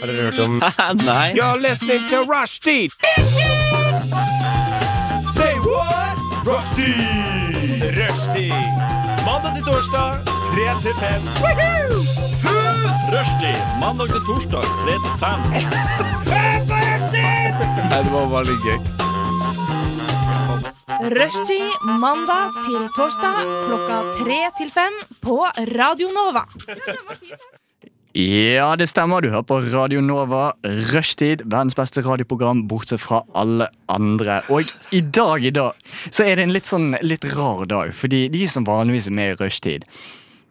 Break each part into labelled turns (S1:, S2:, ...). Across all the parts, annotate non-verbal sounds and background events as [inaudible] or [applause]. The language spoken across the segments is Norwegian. S1: Har dere hørt om
S2: Nei.
S1: You're listening to Rushdie! Say what? Rushdie! Rushdie! Mandag til torsdag, 3 til 5. Rushdie! Mandag til torsdag, 3 til 5.
S2: Nei, det var bare litt gøy.
S3: Rushtid mandag til torsdag klokka tre til fem på Radio Nova.
S2: Ja, det stemmer. Du hører på Radio Nova. Rushtid. Verdens beste radioprogram, bortsett fra alle andre. Og i dag, i dag, så er det en litt sånn litt rar dag. Fordi de som vanligvis er med i rushtid,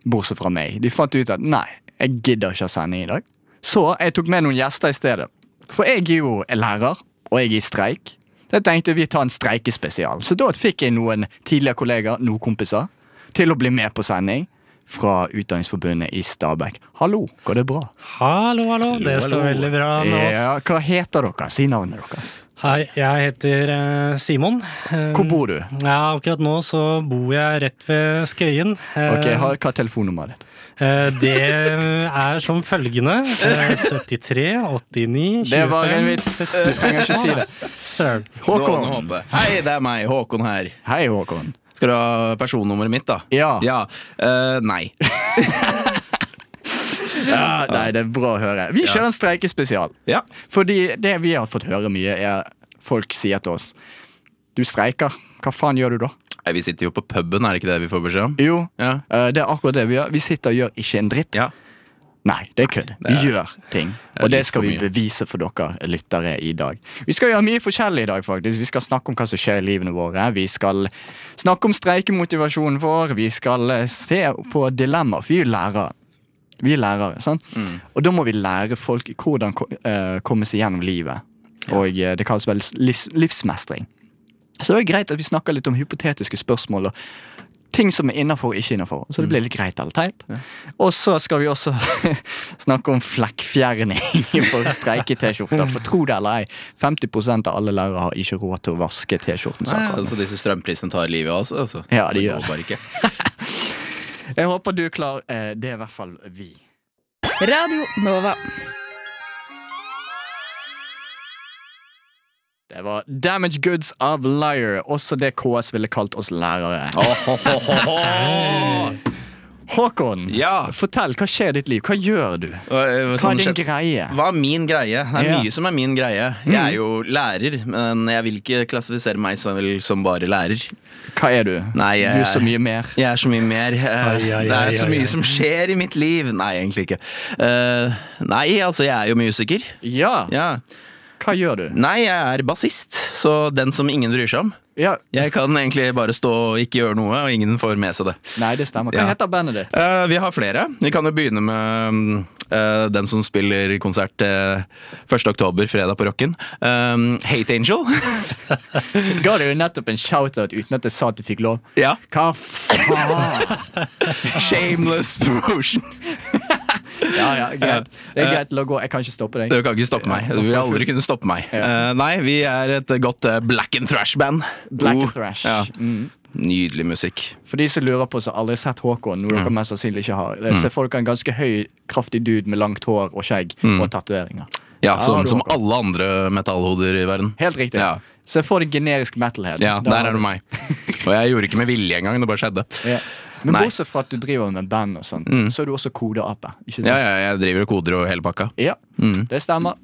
S2: bortsett fra meg, de fant ut at nei, jeg gidder ikke å sende i dag. Så jeg tok med noen gjester i stedet. For jeg er jo lærer, og jeg er i streik. Så jeg tenkte vi tar en streikespesial. Så da fikk jeg noen tidligere kollegaer, noen kompiser, til å bli med på sending. Fra Utdanningsforbundet i Stabæk. Hallo, går det bra?
S4: Hallo, hallo. Det står veldig bra med oss.
S2: Ja, hva heter dere? Si navnet deres.
S4: Hei, jeg heter eh, Simon. Eh,
S2: Hvor bor du?
S4: Ja, akkurat nå så bor jeg rett ved Skøyen. Eh,
S2: Ok, har, Hva er telefonnummeret ditt?
S4: eh, det er som følgende. Eh, 73, 89, 25
S2: Det var en vits. Du trenger ikke [laughs] si det.
S4: Søren.
S5: Nå, nå
S2: Håkon.
S5: håper jeg. Hei, det er meg, Håkon her.
S2: Hei, Håkon.
S5: Skal du ha personnummeret mitt, da?
S2: Ja.
S5: eh, nei.
S2: Ja, Ah, nei, det er bra å høre. Vi kjører en streikespesial.
S5: Ja.
S2: Fordi det vi har fått høre mye, er folk sier til oss Du streiker. Hva faen gjør du da?
S5: Nei, Eh, Vi sitter jo på puben, er det ikke det vi får beskjed om?
S2: Jo,
S5: Ja.
S2: eh, det er akkurat det vi gjør. Vi sitter og gjør ikke en dritt.
S5: Ja.
S2: Nei, det er kødd. Vi gjør ting. Og det
S5: litt
S2: skal
S5: for
S2: vi
S5: mye.
S2: bevise for dere lyttere i dag. Vi skal gjøre mye forskjellig i dag, faktisk. Vi skal snakke om hva som skjer i livene våre. Vi skal snakke om streikemotivasjonen vår. Vi skal eh, se på dilemmaer, for vi er jo lærere. Vi er lærere, sant? Og da må vi lære folk hvordan ko- eh, komme seg gjennom livet. Og eh, det kalles vel livs livsmestring. Så det er greit at vi snakker litt om hypotetiske spørsmål og ting som er innafor og ikke innafor. Så det blir litt greit eller teit. Og så skal vi også [laughs] snakke om flekkfjerning for streike-T-skjorter. For tro det eller ei, 50 av alle lærere har ikke råd til å vaske T-skjorten.
S5: Nei,
S2: sin.
S5: altså Disse strømprisene tar livet av oss. Altså.
S2: Ja, de
S5: det
S2: gjør.
S5: går bare ikke.
S2: Jeg håper du er klar. Eh, Det er i hvert fall vi.
S6: Radio Nova.
S2: Det var Damage Goods of Liar, også det KS ville kalt oss lærere. [laughs] Håkon,
S5: Ja.
S2: fortell, hva skjer i ditt liv? Hva gjør du?
S5: Hva eh,
S2: Hva
S5: sånn
S2: er din
S5: skje-
S2: greie?
S5: Hva er min greie? Det er
S2: Ja. Mm.
S5: mye som er min greie. Jeg er jo lærer, men jeg vil ikke klassifisere meg som, som bare lærer.
S2: Hva er du?
S5: Nei, jeg-
S2: Du er så mye mer.
S5: Jeg er så mye mer. eh,
S4: Ai, ai,
S5: det
S4: ai,
S5: er så
S4: ai,
S5: mye
S4: ai.
S5: som skjer i mitt liv. Nei, egentlig ikke. Eh, nei, altså, jeg er jo musiker.
S2: Ja,
S5: Ja.
S2: hva gjør du?
S5: Nei, jeg er bassist, så den som ingen bryr seg om.
S2: Ja.
S5: Jeg kan egentlig bare stå og ikke gjøre noe, og ingen får med seg det.
S2: Nei, det stemmer. Hva
S5: Ja.
S2: heter bandet [laughs] ditt?
S5: Eh, vi har flere. Vi kan jo begynne med mm, eh, den som spiller konsert eh, 1. oktober, fredag på Rocken. Eh, Hate Angel. [laughs]
S2: Ga dere jo nettopp en shout-out uten at jeg sa at du fikk lov?
S5: ja.
S2: Hva faen?
S5: Shameless promotion.
S2: Ja, ja,
S5: [laughs]
S2: greit. Det er greit, la gå. Jeg kan ikke stoppe deg.
S5: Du kan ikke stoppe meg. Du vil aldri kunne stoppe meg. Eh, nei, vi er et godt eh, black and thrash-band.
S2: Black
S5: Oh,
S2: and Thrash.
S5: Ja.
S2: Mm.
S5: Nydelig musikk.
S2: For de som lurer på, som aldri har sett Håkon, noe
S5: Mm.
S2: dere mest sannsynlig ikke har, det er- så får dere en ganske høy, kraftig dude med langt hår og skjegg
S5: Mm.
S2: og tatoveringer.
S5: Ja,
S2: har
S5: som,
S2: du
S5: som
S2: Håkon.
S5: alle andre metallhoder i verden.
S2: Helt riktig.
S5: Ja.
S2: Så jeg får det generisk metalhead.
S5: Ja,
S2: Da har
S5: der er
S2: du-
S5: det meg. Og jeg gjorde ikke med vilje engang. Det bare skjedde.
S2: Ja. Men
S5: Nei. Mm.
S2: bortsett fra at du driver med band, og sånt, så er du også kodeape. Ikke sant?
S5: Ja, Mm. ja, jeg driver og koder og hele pakka.
S2: Ja, det stemmer.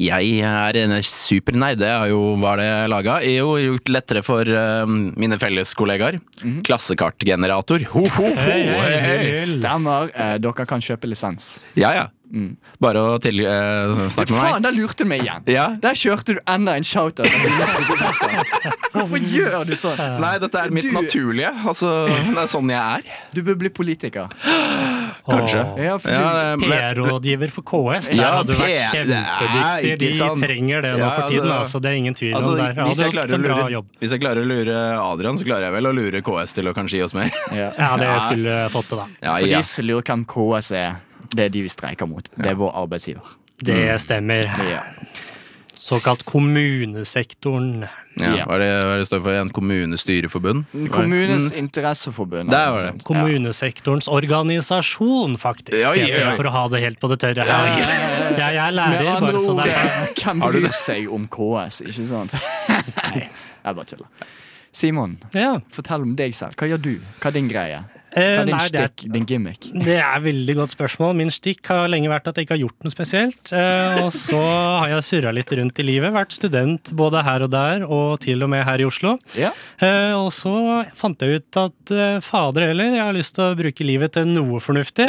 S5: Jeg er en supernerd. Det har jo hva er det jeg laga. Jeg har jo gjort lettere for eh, mine felleskollegaer. Klassekartgenerator. Ho, ho, ho.
S4: Mhm. Hei, hei, hei.
S2: Stemmer. Eh, dere kan kjøpe lisens.
S5: Ja, ja.
S4: Mm.
S5: Bare å til, eh, snakke med
S2: Faen,
S5: meg.
S2: der lurte du meg igjen!
S5: Ja.
S2: Der kjørte du enda
S5: [laughs]
S2: en shout-out. Hvorfor gjør du sånn?
S5: Nei, dette er mitt
S2: Du-
S5: naturlige. Altså, det er sånn jeg er.
S2: Du bør bli politiker.
S5: Kanskje.
S4: Åh.
S2: Ja, for
S5: Ja, det- men-
S4: PR-rådgiver for KS. Der
S5: Ja,
S4: hadde du vært
S5: P- det er
S4: kjempedyktig.
S5: ikke
S4: De
S5: sant.
S4: trenger det nå
S5: Ja,
S4: for tiden,
S5: altså-
S4: altså. Det er ingen tvil om
S5: Altså,
S4: der. Ja,
S5: hvis,
S4: du
S5: jeg
S4: hadde
S5: klarer å
S4: gjort en bra
S5: lure,
S4: jobb.
S5: hvis jeg klarer å lure Adrian, så klarer jeg vel å lure KS til å kanskje gi oss mer. [laughs]
S2: ja.
S4: Ja, det skulle jeg fått til, da.
S5: Ja,
S2: For
S5: ja.
S2: de som lurer hvem KS
S5: Mm.
S2: er, det er de vi streiker mot. Det er vår arbeidsgiver.
S4: Det stemmer.
S2: Ja.
S4: Såkalt kommunesektoren.
S5: Ja,
S2: Ja.
S5: Hva er det, hva er det står for igjen? Kommunestyreforbund?
S2: Kommunens
S5: Mm,
S2: interesseforbund.
S5: Der var det.
S4: Kommunesektorens organisasjon, faktisk.
S5: Oi, oi, oi.
S4: For å ha det helt på det tørre. her. Jeg er
S2: Med
S4: lærer,
S2: andre
S4: bare så
S2: ord, eh,
S4: det er
S2: hvem
S5: Har du
S2: bryr
S5: det?
S2: seg om KS, ikke [laughs] sant? Nei, jeg bare tuller. Simon,
S4: ja.
S2: fortell om deg selv. Hva gjør du? Hva er din greie? Hva
S4: eh,
S2: er din
S4: nei, det, er,
S2: stikk? Din gimmick?
S4: det er et veldig godt spørsmål. Min stikk har lenge vært at jeg ikke har gjort noe spesielt. Eh, og så har jeg surra litt rundt i livet. Vært student både her og der, og til og med her i Oslo.
S2: Ja.
S4: Eh, og så fant jeg ut at eh, fader heller, jeg har lyst til å bruke livet til noe fornuftig.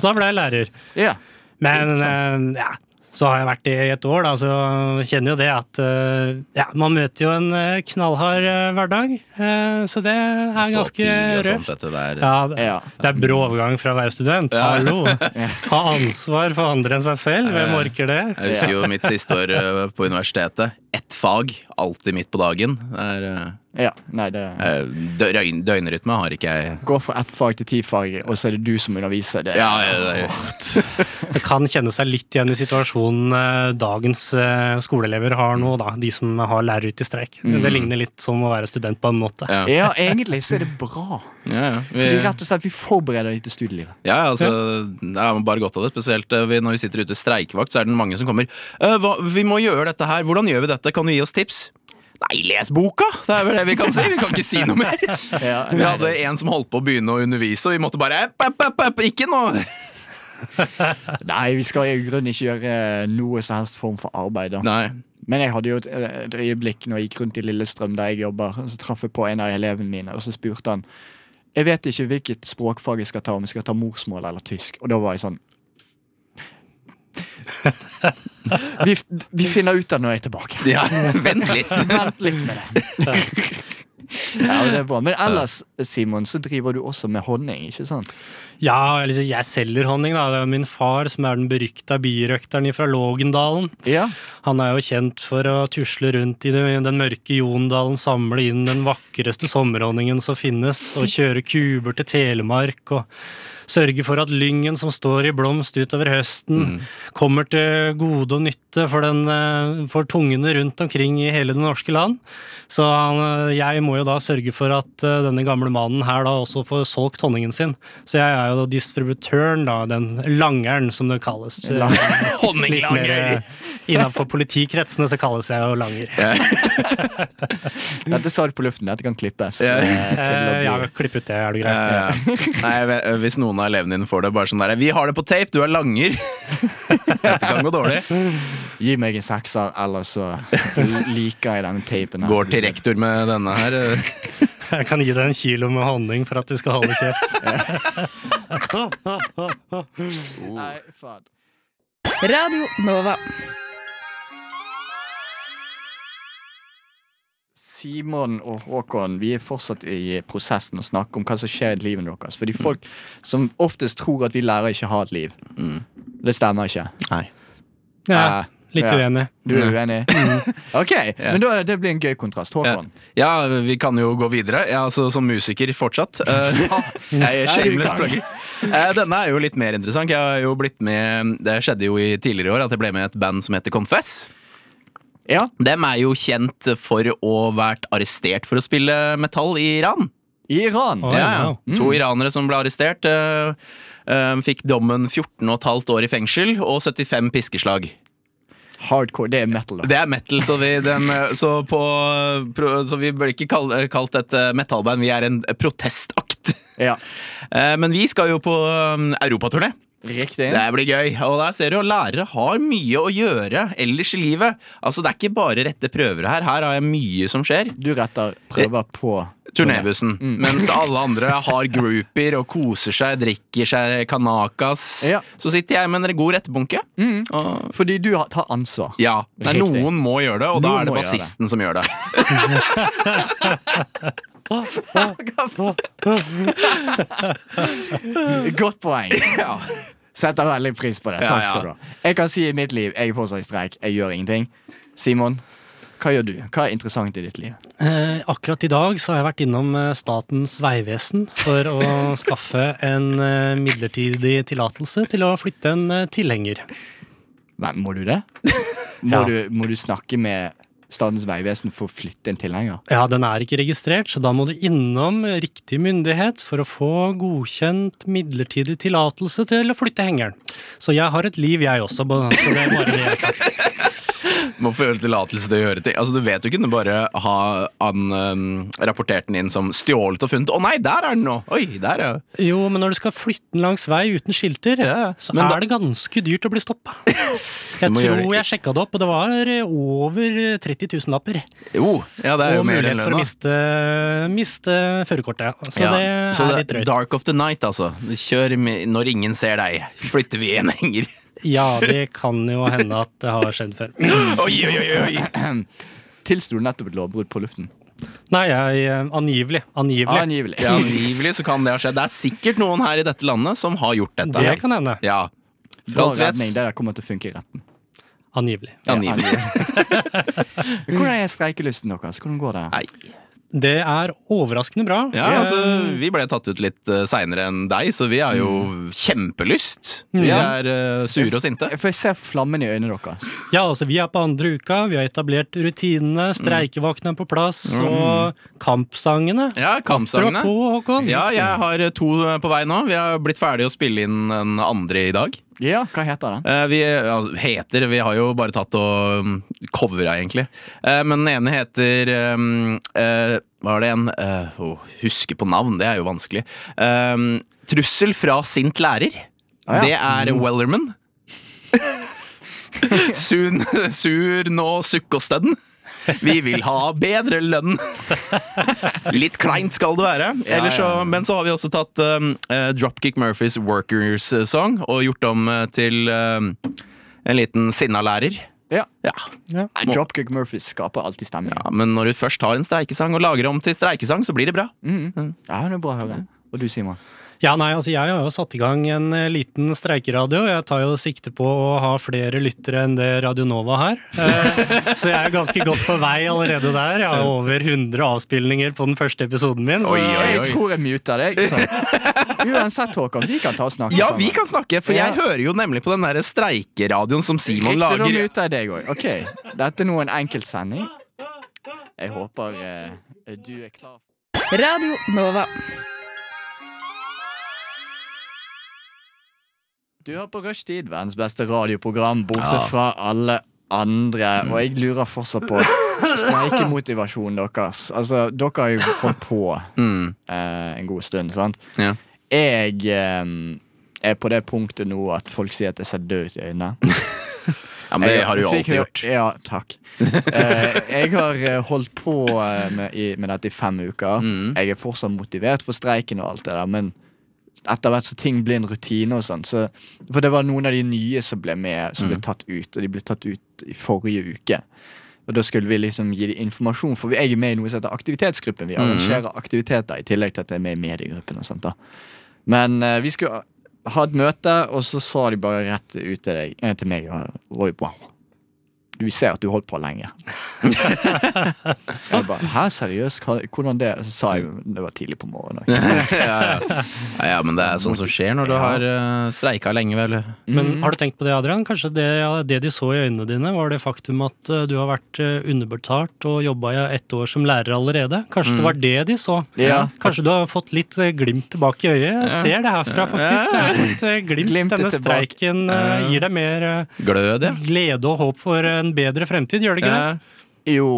S4: så da ble jeg lærer.
S2: ja.
S4: Men eh, ja, så har jeg vært det i et år, da, så kjenner jo det at eh, ja, man møter jo en eh, knallhard eh, hverdag. eh, så det er ganske
S5: Sånt,
S4: røft.
S5: dette der.
S4: Ja, det-
S2: Ja.
S4: det er brå overgang fra å være student. Hallo! Ha ansvar for andre enn seg selv. Hvem orker det?
S5: Jeg husker jo mitt siste år eh, på universitetet. Ett fag, alltid midt på dagen. Det er,
S2: ja. Nei, det
S5: eh, eh, døgn, døgnrytme har ikke jeg.
S2: Gå fra ett fag til ti fag, og så er det du som underviser. Det.
S5: Ja, ja, det er-
S4: Det kan kjenne seg litt igjen i situasjonen eh, dagens eh, skoleelever har nå, da. De som har lærere ute i streik. Det ligner litt som å være student på en måte.
S5: Ja.
S2: Ja, egentlig så er det bra.
S5: ja, ja.
S2: Fordi
S5: Vi,
S2: rett og slett, vi forbereder deg til studielivet.
S5: ja, altså, det er bare godt av det. Spesielt eh, vi, når vi sitter ute streikevakt, så er det mange som kommer. «Eh, Hva, 'Vi må gjøre dette her. Hvordan gjør vi dette? Kan du gi oss tips?' Nei, les boka! Det er vel det vi kan si. Vi kan ikke si noe mer.
S2: Ja,
S5: Vi hadde en som holdt på å begynne å undervise, og vi måtte bare «Epp, epp, epp, epp, Ikke nå!
S2: Nei, vi skal i grunnen ikke gjøre eh, noe som helst form for arbeid. da.
S5: Nei.
S2: Men jeg hadde jo et, et øyeblikk når jeg gikk rundt i Lillestrøm, der jeg jobber, og så traff jeg på en av elevene mine, og så spurte han jeg vet ikke hvilket språkfag jeg skal ta, om jeg skal ta morsmål eller tysk. Og da var jeg sånn Vi, f- vi finner ut av det når jeg er tilbake.
S5: Ja, vent litt. [laughs]
S2: Vent litt med det. Ja, men det er bra. Men ellers, Simon, så driver du også med honning, ikke sant?
S4: Ja, eller så jeg selger honning, da. Det er jo min far som er den berykta birøkteren fra Lågendalen.
S2: Ja.
S4: Han er jo kjent for å tusle rundt i den den mørke Jondalen, samle inn den vakreste sommerhonningen som finnes, og kjøre kuber til Telemark, og sørge for at lyngen som står i blomst utover høsten, kommer til gode og nytte for, den, eh, for tungene rundt omkring i hele det norske land. Så han, eh, jeg må jo da sørge for at eh, denne gamle mannen her da også får solgt honningen sin. Så jeg er jo da distributøren, da, den langeren som det kalles. Litt mer innafor politikretsene så kalles jeg jo langer.
S2: Dette sa du på luften. Dette kan klippes.
S5: Ja.
S2: eh, til å
S4: Eh,
S2: bli-
S4: Ja, klipp ut det, er det greit?
S5: Ja, ja. Eh, Nei, jeg vet- Hvis noen av elevene dine får det, bare sånn der Vi har det på tape, du er langer. [laughs] Dette kan gå dårlig.
S2: Gi meg en sekser, eller så liker jeg denne tapen. her.
S5: Går til rektor med denne her. eh.
S4: Jeg kan gi deg en kilo med honning for at du skal holde kjeft.
S2: Nei, faen.
S6: Radio Nova.
S2: Simon og Håkon, vi er fortsatt i prosessen å snakke om hva som skjer i livet deres. Fordi folk som oftest tror at vi lærer ikke har et liv.
S5: Mm.
S2: Det stemmer ikke.
S5: Nei.
S4: Ja,
S2: Eh,
S4: litt
S2: ja.
S4: uenig.
S2: Du
S5: Mm.
S2: er uenig? Ok, men da, det blir en gøy kontrast. Håkon.
S5: Ja, vi kan jo gå videre. Ja, altså, som musiker fortsatt. [laughs] Eh, Jeg er shameless plugger. Eh, Denne er jo litt mer interessant. Jeg har jo blitt med Det skjedde jo i tidligere i år at jeg ble med i et band som heter Confess.
S2: Ja.
S5: Dem er jo kjent for å vært arrestert for å spille metall i Iran.
S2: Iran.
S4: Oi.
S5: Ja, Mm.
S4: wow.
S5: ja. To iranere som ble arrestert, eh, eh, fikk dommen 14,5 år i fengsel og 75 piskeslag.
S2: Hardcore. Det er metal, da.
S5: Det er metal, så vi, den, eh, så på, eh, pro- så vi bør ikke kalle, kalt et eh, metalband. Vi er en protestakt. [laughs]
S2: Ja.
S5: Eh, Men vi skal jo på eh, europaturné.
S2: Riktig.
S5: Det blir gøy. Og der ser du jo lærere har mye å gjøre ellers i livet. Altså Det er ikke bare rette prøver her. Her har jeg mye som skjer.
S2: Du retter prøver på
S5: Turnébussen.
S4: Mm.
S5: Mens alle andre har groupier og koser seg, drikker seg kanakas.
S2: Ja.
S5: Så sitter jeg med en god rettebunke.
S4: Mm.
S5: Og
S2: Fordi du har- tar ansvar.
S5: ja, Nei,
S2: Riktig.
S5: Noen må gjøre det, og da
S2: Noen
S5: er det
S2: må gjøre det.
S5: bassisten som
S4: [laughs]
S5: gjør det.
S2: [laughs] Godt poeng.
S5: Ja.
S2: Setter veldig pris på det.
S5: Ja,
S2: Takk skal du
S5: ja.
S2: ha. Jeg kan si i mitt liv jeg er fortsatt i streik. Jeg gjør ingenting. Simon, hva gjør du? Hva er interessant i ditt liv?
S4: Eh, akkurat i dag så har jeg vært innom eh, Statens vegvesen for å [laughs] skaffe en eh, midlertidig tillatelse til å flytte en eh, tilhenger.
S2: Men, [laughs] må du det? Må,
S4: Ja.
S2: du, må du snakke med Statens vegvesen for å flytte en tilhenger?
S4: Ja, den er ikke registrert, så da må du innom riktig myndighet for å få godkjent midlertidig tillatelse til å flytte hengeren. Så jeg har et liv, jeg også. ba- Så det er bare det jeg har sagt.
S5: Må få gjøre tillatelse til å gjøre ting. Altså, du vet du kunne bare ha an, øhm, rapportert den inn som stjålet og funnet. Å nei, der er den nå! Oi, der er
S4: Jo, men når du skal flytte den langs vei uten skilter,
S5: Ja,
S4: så
S5: men da-
S4: er det ganske dyrt å bli stoppa. Jeg
S5: Du må gjøre
S4: tror
S5: det.
S4: jeg sjekka det opp, og det var over 30 000 lapper.
S5: Jo, ja, det er jo
S4: Og
S5: mer enn
S4: mulighet for å
S5: lønna.
S4: miste, miste førerkortet. ja. Så
S5: Ja,
S4: det
S5: så
S4: er
S5: det-
S4: litt drøyt.
S5: dark of the night, altså. Kjør med, når ingen ser deg. Flytter vi en
S4: [laughs]
S5: henger.
S4: Ja, det kan jo hende at det har skjedd før.
S5: Oi, oi, oi, oi.
S2: Tilsto du nettopp et lovbrudd på luften?
S4: Nei, jeg eh, Angivelig. Angivelig.
S2: Angivelig.
S5: Ja, angivelig så kan det ha skjedd. Det er sikkert noen her i dette landet som har gjort dette.
S4: Det kan hende.
S5: Ja. For
S2: [laughs] Bra
S5: alt vet,
S2: redning, det der kommer til å funke i retten.
S4: Angivelig.
S5: angivelig.
S2: [laughs] Hvordan er streikelysten deres? Hvordan går det?
S5: Nei.
S4: Det er overraskende bra.
S5: Ja,
S4: Eh,
S5: altså, vi ble tatt ut litt uh, seinere enn deg, så vi har jo kjempelyst. Vi
S4: Mm. Ja.
S5: er eh, sure og sinte.
S2: For jeg ser flammen i øynene deres.
S4: ja, altså, vi er på andre uka, vi har etablert
S5: Mm.
S4: rutinene, streikevaktene er på plass, og kampsangene.
S5: Ja,
S4: Bra
S5: Mm. kampsangene.
S4: på, Håkon.
S5: Ja, jeg har eh, to på vei nå. Vi har blitt ferdig å spille inn den andre i dag.
S2: Ja, hva heter den?
S5: Eh, Vi ja, heter Vi har jo bare tatt og mm, covra, egentlig. Eh, Men den ene heter mm, eh, Hva er det en eh, Å huske på navn, det er jo vanskelig. Eh, Trussel fra sint lærer.
S2: Ah,
S5: Det
S2: ja.
S5: er
S2: [laughs]
S5: Wellerman. Sun, [laughs] sur nå sukkostødden. Vi vil ha bedre lønn! Litt kleint skal det være. Ellers så,
S2: Ja, ja, ja.
S5: men så har vi også tatt um, eh, Dropkick Murphys Workers eh, Song og gjort om eh, til um, en liten sinna lærer.
S2: Ja.
S5: Ja.
S4: Ja.
S2: Nei, Dropkick Murphys skaper alltid stemning.
S5: ja, Men når du først har en streikesang og lager om til streikesang, så blir det bra.
S2: Mm. Ja, det er bra å høre. Og du, Simon?
S4: Ja, nei, altså Jeg har jo satt i gang en eh, liten streikeradio. Jeg tar jo sikte på å ha flere lyttere enn det Radio Nova har. Eh, Så jeg er ganske godt på vei allerede der. Jeg har over 100 avspillinger på den første episoden min. Så
S5: Oi, oi,
S2: Jeg tror jeg muter deg.
S5: [laughs]
S2: Så. Uansett, Håkon, vi kan ta og snakke
S5: Ja,
S2: sammen.
S5: vi kan snakke, for
S2: Ja.
S5: jeg hører jo nemlig på den der streikeradioen som Simon
S2: Riktig, da
S5: lager.
S2: muter jeg deg òg. Ok, dette er nå en enkeltsending. Jeg håper eh, du er klar.
S6: Radio Nova.
S2: Du hører på Rushtid, verdens beste radioprogram, bortsett
S5: Ja.
S2: fra alle andre. Og jeg lurer fortsatt på streikemotivasjonen deres. Altså, dere har jo holdt på
S5: Mm.
S2: eh, en god stund, sant?
S5: Ja.
S2: Jeg eh, er på det punktet nå at folk sier at jeg ser død ut i øynene.
S5: Ja, men det
S2: Jeg
S5: har du jo
S2: fikk
S5: alltid
S2: jo-
S5: gjort. [laughs]
S2: Ja, takk. Eh, jeg har eh, holdt på eh, med, i, med dette i fem uker.
S5: Mm.
S2: Jeg er fortsatt motivert for streiken og alt det der, men etter hvert så ting blir en rutine og sånn. Så, for det var noen av de nye som ble med, som
S5: Mm.
S2: ble tatt ut, og de ble tatt ut i forrige uke. Og da skulle vi liksom gi dem informasjon, for jeg er med i noe som heter aktivitetsgruppen.
S5: Mm.
S2: Vi arrangerer aktiviteter i tillegg til at jeg er med i mediegruppen og sånt da. Men eh, vi skulle ha et møte, og så sa de bare rett ut til deg, eh, til meg, og det var jo wow. Du ser at du holdt på lenge. jeg bare, Hæ, seriøst? Hva- Hvordan det? Så sa jeg jo, det var tidlig på morgenen. ikke
S5: ja,
S2: sant?
S5: ja. ja, ja, men det er sånn som skjer når du har uh, streika lenge, vel.
S4: Men har du tenkt på det, Adrian? Kanskje det, det de så i øynene dine, var det faktum at eh, du har vært eh, underbetalt og jobba i ett år som lærer allerede? Kanskje det var det de så?
S2: Ja.
S4: Kanskje du har fått litt eh, glimt tilbake i øyet? Jeg ser det herfra, faktisk. Det er litt eh, glimt.
S2: Glimtet
S4: Denne
S2: tilbake.
S4: streiken eh, gir deg mer eh,
S5: Glød, ja. Eh,
S4: glede og håp for en bedre fremtid, gjør det ikke det?
S5: Ja.
S2: Jo.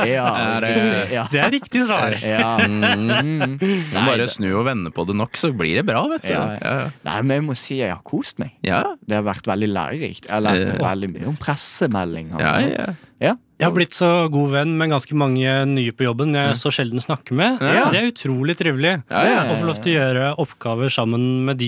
S2: ja,
S5: Er det-
S2: riktig, ja.
S4: Det er riktig svar.
S2: [laughs] ja. Mm.
S5: Du må bare snu og vende på det nok, så blir det bra, vet du.
S2: Ja,
S5: Ja, ja.
S2: Nei, men jeg må si jeg har kost meg.
S5: ja.
S2: Det har vært veldig lærerikt. Jeg har lært meg veldig mye om pressemeldinger.
S5: ja, ja.
S2: Ja.
S4: Jeg har blitt så god venn med ganske mange nye på jobben jeg så sjelden snakker med.
S5: Ja.
S4: Det er utrolig trivelig.
S5: Ja, ja.
S4: Å få lov til å gjøre oppgaver sammen med de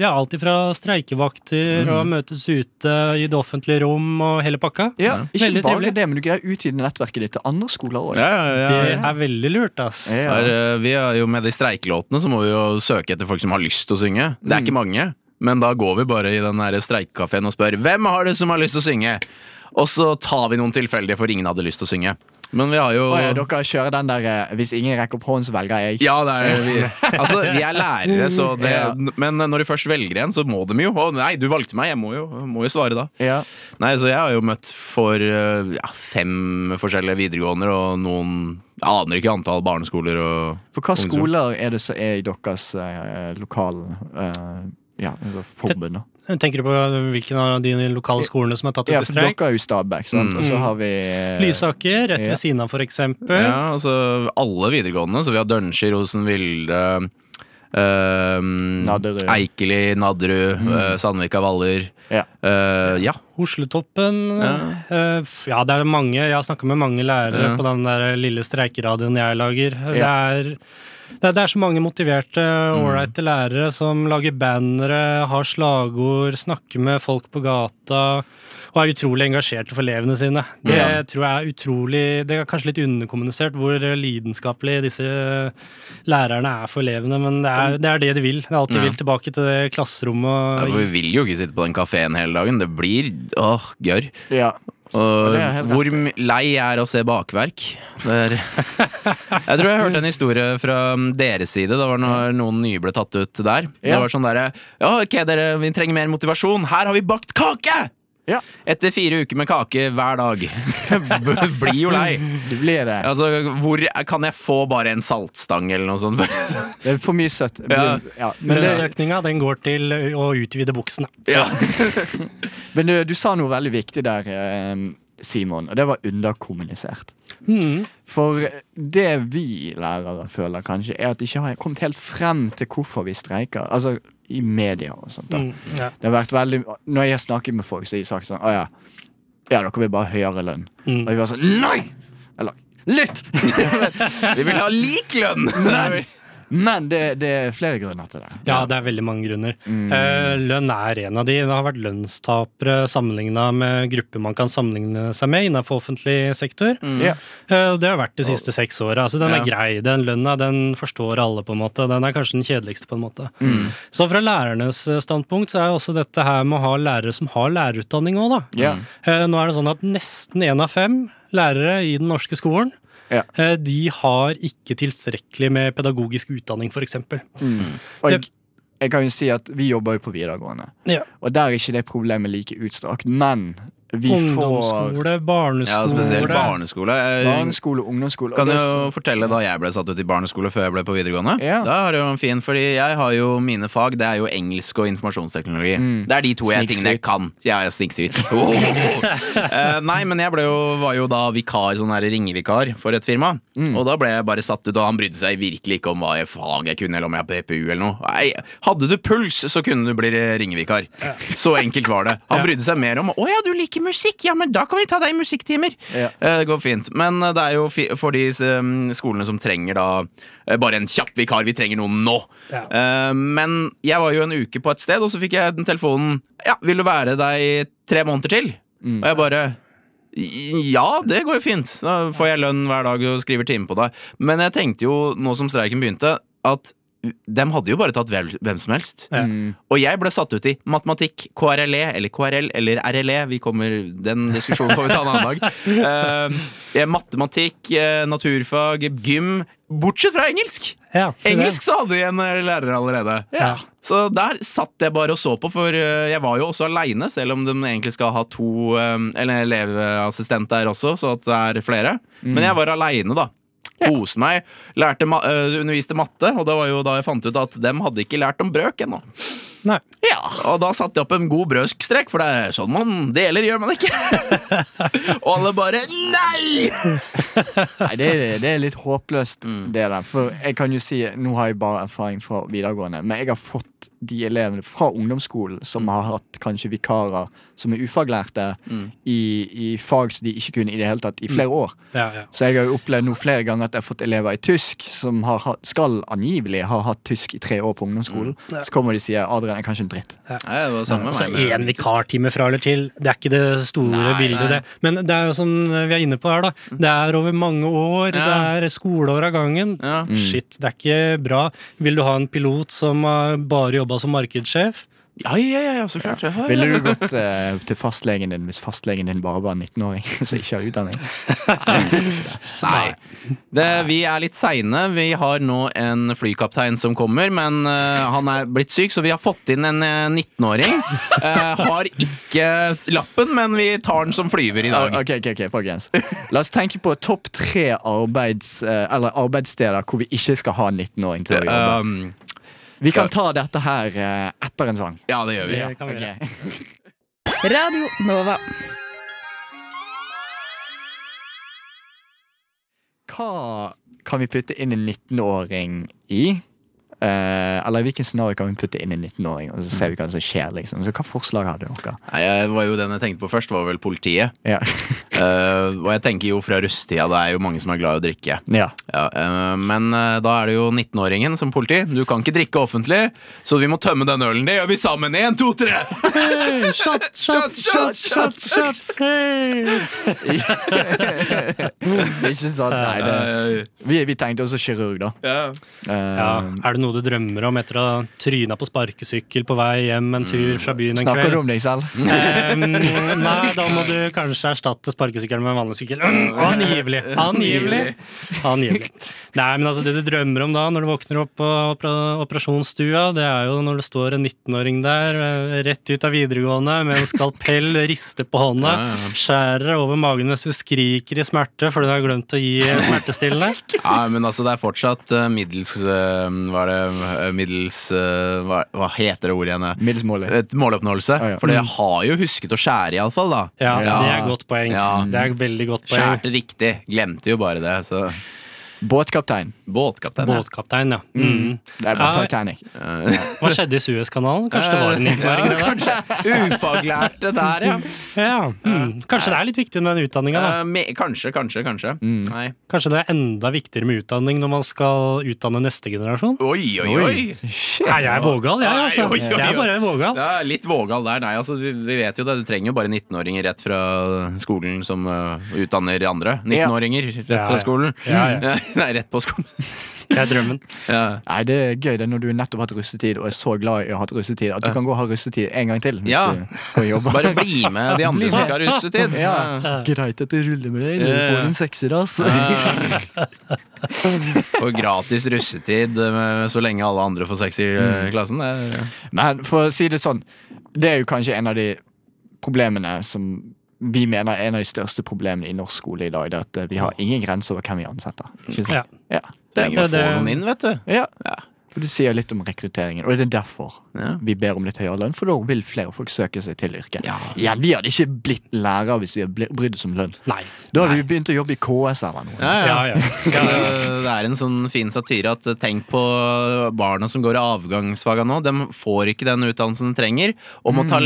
S4: ja, Alt ifra streikevakter og møtes ute i det offentlige rom og hele pakka.
S2: Mm. Ja, ikke
S4: Veldig
S2: bare
S4: trivelig.
S2: det, men du greier å utvide nettverket ditt til andre skoler òg.
S5: ja, ja, ja.
S4: Det er veldig lurt, ass.
S5: Her, eh, vi er jo med de streikelåtene, så må vi jo søke etter folk som har lyst til å synge. Det er ikke mange, men da går vi bare i den her streikekafeen og spør hvem har det som har lyst til å synge. Og så tar vi noen tilfeldige, for ingen hadde lyst til å synge. Men vi har jo
S2: Åja, dere kjører den der eh, 'hvis ingen rekker opp hånden, så velger jeg'.
S5: Ja, det er vi. Altså, vi er lærere, så det
S2: Ja.
S5: Men når de først velger en, så må de jo. Å nei, du valgte meg, jeg må jo, må jo svare da.
S2: Ja.
S5: Nei, så jeg har jo møtt for eh, ja, fem forskjellige videregående og noen Jeg aner ikke antall barneskoler og
S2: For hvilke
S5: ungdomsskoler.
S2: skoler er det som er i deres eh, lokal eh, ja, altså forbund? da?
S4: Tenker du på hvilken av de lokale skolene som er tatt ut
S2: Ja,
S4: i
S2: for
S4: streik?
S2: dere er jo Stabæk, sant?
S5: Mm.
S2: og så har vi eh,
S4: Lysaker, rett
S2: Ja.
S4: ved siden av, for eksempel.
S5: Ja, altså alle videregående. Så vi har Dønskjer, Rosenvilde, eh,
S2: Nadderud.
S5: Eikeli, Nadderud, eh, Sandvika, Hvaler.
S2: Ja.
S5: Eh, ja.
S4: Hosletoppen. eh, ja, det er mange. Jeg har snakka med mange lærere
S5: Ja.
S4: på den der lille streikeradioen jeg lager. Det,
S2: Ja.
S4: er, det, er, det er så mange motiverte,
S5: Mm.
S4: ålreite lærere som lager bannere, har slagord, snakker med folk på gata. Og er utrolig engasjerte for elevene sine. Det
S5: Ja.
S4: tror jeg er utrolig Det er kanskje litt underkommunisert hvor lidenskapelige disse lærerne er for elevene, men det er det, er det de vil. Det er alt de
S5: Ja.
S4: vil tilbake til det klasserommet.
S5: Ja,
S4: og
S5: for vi vil jo ikke sitte på den kafeen hele dagen. Det blir åh, gørr.
S2: Ja.
S5: Og
S2: det er helt
S5: hvor m- lei jeg er å se bakverk. Det er [laughs] jeg tror jeg hørte en historie fra deres side. Det var når noen nye ble tatt ut der. Det
S2: Ja.
S5: var sånn derre Ja, ok, dere, vi trenger mer motivasjon. Her har vi bakt kake!
S2: ja.
S5: Etter fire uker med kake hver dag. [laughs] B- Blir jo lei.
S2: Det blir det.
S5: Altså, hvor kan jeg få bare en saltstang eller noe sånt? [laughs]
S2: Det er for mye søtt. Det
S5: Ja.
S2: blir- Ja. Men, det,
S4: Lønnsøkninga den går til øh, å utvide buksene.
S5: Ja.
S2: men du, du sa noe veldig viktig der, eh, Simon, og det var underkommunisert. Mm. For det vi lærere føler kanskje, er at de ikke har kommet helt frem til hvorfor vi streiker. Altså i media og sånt. da.
S4: Mm, Ja.
S2: Det har vært veldig Når jeg har snakket med folk, så har de sagt sånn Å ja, ja dere vil bare ha høyere lønn. Og vi var sånn Nei! Eller litt! [laughs]
S5: Vi vil ha lik lønn! Nei, vi-
S2: Men det, det er flere grunner til det.
S4: Ja, det er veldig mange grunner.
S2: Mm.
S4: Eh, lønn er en av de. Det har vært lønnstapere sammenligna med grupper man kan sammenligne seg med innenfor offentlig sektor.
S2: Ja.
S4: Eh, det har vært de siste seks åra. Altså, den
S5: Ja.
S4: er grei. Den lønna den forstår alle, på en måte. Den er kanskje den kjedeligste, på en måte.
S2: Mm.
S4: Så fra lærernes eh, standpunkt så er også dette her med å ha lærere som har lærerutdanning òg, da.
S2: Ja.
S4: Eh, Nå er det sånn at nesten én av fem lærere i den norske skolen
S2: Ja.
S4: eh, de har ikke tilstrekkelig med pedagogisk utdanning, f.eks.
S2: Og jeg, jeg kan jo si at vi jobber jo på videregående,
S4: Ja.
S2: og der er ikke det problemet like utstrakt. Men vi får
S4: Ungdomsskole, barneskole
S5: Ja, spesielt barneskole. Jeg
S2: barneskole, ungdomsskole og
S5: kan
S2: det-
S5: jo fortelle da jeg ble satt ut i barneskole før jeg ble på videregående.
S2: Ja.
S5: Da er det jo en fin, fordi jeg har jo mine fag, det er jo engelsk og informasjonsteknologi.
S2: Mm.
S5: Det er de to jeg, tingene jeg kan. Ja, jeg snikskryt. [laughs] Oh. Eh, nei, men jeg ble jo, var jo da vikar, sånn her ringevikar for et firma. Og da ble jeg bare satt ut, og han brydde seg virkelig ikke om hva jeg fag jeg kunne, eller om jeg hadde PPU eller noe. Nei, hadde du puls, så kunne du bli ringevikar. Så enkelt var det. Han brydde seg mer om å ja, du liker musikk, ja, men da kan vi ta deg i musikktimer.
S2: Ja.
S5: Eh, Det går fint. Men eh, det er jo fi for de eh, skolene som trenger da eh, bare en kjapp vikar. Vi trenger noen nå.
S4: Ja.
S5: Eh, Men jeg var jo en uke på et sted, og så fikk jeg den telefonen Ja, vil du være der i tre måneder til? Og jeg bare ja, det går jo fint. Da får jeg lønn hver dag og skriver time på det. Men jeg tenkte jo, nå som streiken begynte, at dem hadde jo bare tatt vel- hvem som helst.
S4: Ja.
S5: Og jeg ble satt ut i matematikk, KRLE E, eller KRL eller RLE. Vi kommer, Den diskusjonen får vi ta en annen dag. Eh, matematikk, eh, naturfag, gym. Bortsett fra engelsk!
S4: Ja, se det.
S5: Engelsk så hadde vi en eh, lærer allerede.
S4: Ja.
S5: Så der satt jeg bare og så på, for eh, jeg var jo også aleine, selv om de egentlig skal ha to eh, Eller en elevassistent der også, så at det er flere.
S4: Mm.
S5: Men jeg var aleine, da. Koste meg. Lærte ma eh, underviste matte, og det var jo da jeg fant ut at dem hadde ikke lært om brøk ennå.
S4: Nei.
S5: Og da satte jeg opp en god brødskstrek, for det er sånn man deler, gjør man
S4: [laughs]
S5: ikke? og alle bare «Mm». nei!
S2: Nei, det er, det er litt håpløst, det der. For jeg kan jo si, nå har jeg bare erfaring fra videregående, men jeg har fått de elevene fra ungdomsskolen som har hatt kanskje vikarer som er ufaglærte i, i fag som de ikke kunne i det hele tatt i flere år.
S4: Ja, ja.
S2: Så jeg har jo opplevd nå flere ganger at jeg har fått elever i tysk som har, hatt- skal angivelig ha hatt tysk i tre år på ungdomsskolen.
S4: Ja.
S2: Så kommer de og sier 'Adrian er kanskje en dritt'.
S5: Nei, det var det samme
S4: Altså,
S5: med meg.
S4: Én vikartime fra eller til, det er ikke det store bildet. det. Men det er jo som vi er inne på her, da. Det er over mange år,
S5: Mm. Ja.
S4: det er skoleår av gangen. Mm.
S5: Ja. Mm.
S4: Shit, det er ikke bra. Vil du ha en pilot som har bare jobba som markedssjef?
S5: Ja, ja, ja, ja, så klart. Ja. ja,
S2: Ville du gått eh, til fastlegen din hvis fastlegen din bare var en 19-åring [laughs] som ikke har utdanning?
S5: Nei. Det, vi er litt seine. Vi har nå en flykaptein som kommer, men eh, han er blitt syk, så vi har fått inn en eh, 19-åring. Eh, har ikke lappen, men vi tar den som flyver i
S2: Ja,
S5: dag.
S2: Ok, ok, ok,
S4: [laughs]
S2: folkens La oss tenke på topp tre arbeids, eh, eller arbeidssteder hvor vi ikke skal ha en 19-åring til å jobbe.
S5: Um,
S2: Vi kan ta dette her eh, etter en sang.
S5: ja, det gjør vi.
S4: Det kan vi gjøre.
S2: Ok. [laughs]
S6: Radio Nova.
S2: Hva kan vi putte inn en 19-åring i? Eh, eller i hvilken scenario kan vi putte inn en 19-åring, og så ser vi hva som skjer? liksom Så hva forslag har dere?
S5: Nei, jeg var jo Den jeg tenkte på først, var vel politiet.
S2: Ja. [laughs]
S5: Eh, og jeg tenker jo fra rusttida, det er jo mange som er glad i å drikke.
S2: ja.
S5: Ja, eh, men eh, da er det jo 19-åringen som politi. Du kan ikke drikke offentlig, så vi må tømme den ølen. Det gjør vi sammen. Én, to, tre!
S4: Hey, shot, shot,
S5: shot,
S4: shot,
S5: shot,
S4: shot, shot, hey.
S2: Ikke sant? Nei, det, vi, vi tenkte også kirurg, da.
S5: Eh, Ja.
S2: Eh,
S4: Ja,
S5: Um,
S4: er det noe du drømmer om etter å ha tryna på sparkesykkel på vei hjem en
S5: Mm.
S4: tur fra byen en
S2: Snakker du
S4: kveld?
S2: om deg selv?
S4: [laughs]
S2: Mm.
S4: Em, nei, da må du kanskje erstatte sparkesykkelen med en vanlig sykkel. Angivelig. Angivelig. Angivelig. Nei, men altså Det du drømmer om da når du våkner opp på opera- operasjonsstua, det er jo når det står en 19-åring der eh, rett ut av videregående med en skalpell,
S5: [laughs]
S4: rister på hånda,
S5: Ja, ja, ja.
S4: skjærer deg over magen mens du skriker i smerte fordi du har glemt å gi smertestillende.
S5: [laughs] Ja, men altså, det er fortsatt eh, middels eh, Hva er det eh, Middels eh, hva, hva heter det ordet igjen? eh?
S2: Middels målig.
S5: Et måloppnåelse.
S2: Ja, ja.
S5: For det har jo husket å skjære, iallfall.
S4: Mm. Ja,
S5: Ja.
S4: det er et godt poeng. Mm.
S5: Ja.
S4: Det er et veldig godt poeng.
S5: Skjærte riktig. Glemte jo bare det. Så
S2: Båtkaptein.
S5: båtkaptein. ja.
S4: Båtkaptein, ja. Mm.
S2: Det er bare
S4: Ja.
S2: Titanic.
S4: Hva skjedde i Suezkanalen? Kanskje det var en innføring?
S5: [laughs] Ja, kanskje ufaglærte der,
S4: [laughs]
S5: ja.
S4: Ja. Mm. Kanskje det er litt viktig med den utdanninga, da. Mm.
S5: Eh, me- kanskje, kanskje, kanskje. Nei.
S4: Kanskje det er enda viktigere med utdanning når man skal utdanne neste generasjon?
S5: Oi, oi, oi!
S2: Shit.
S4: Nei, jeg er vågal, jeg, altså.
S5: Oi, oi, oi.
S4: Jeg er bare vågal.
S5: Ja, litt vågal der. Nei, altså, vi, vi vet jo det. Du trenger jo bare 19-åringer rett fra skolen som eh, utdanner andre. 19-åringer rett
S4: Ja,
S5: fra
S4: ja.
S5: skolen.
S4: Ja, ja.
S5: [laughs] Nei, rett på skolen.
S4: Det er drømmen.
S5: Ja.
S2: Nei, det er gøy det er når du nettopp har hatt russetid og er så glad i å ha hatt russetid at du kan gå og ha russetid en gang til. Hvis
S5: Ja.
S2: du går og
S5: [laughs]
S2: jobber
S5: Bare bli med de andre som skal ha russetid. Ja.
S2: Greit at du ruller med deg
S5: når du får en
S2: sekser, ass.
S5: Og gratis russetid eh, så lenge alle andre får sex i eh, klassen. Det er-
S2: Men for å si det sånn, det er jo kanskje en av de problemene som vi mener er en av de største problemene i norsk skole i dag. Det er at eh, vi har ingen grenser over hvem vi ansetter. Ikke sant?
S4: Ja.
S2: Ja.
S5: Så
S2: Det,
S5: lenge du
S4: det-
S5: får noen inn, vet du.
S2: ja.
S5: Ja.
S2: Og det sier litt om rekrutteringen, og det er derfor
S5: Ja.
S2: vi ber om litt høyere lønn. For da vil flere folk søke seg til yrket.
S5: Ja.
S2: vi hadde ikke blitt lærer hvis vi hadde bli- brydd oss om lønn.
S4: Nei.
S2: Da hadde vi begynt å jobbe i KS eller noe.
S4: Ja, ja. ja.
S5: Det det er en sånn fin satire at eh, tenk på barna som går i avgangsfaga nå. De får ikke den utdannelsen de trenger, og må ta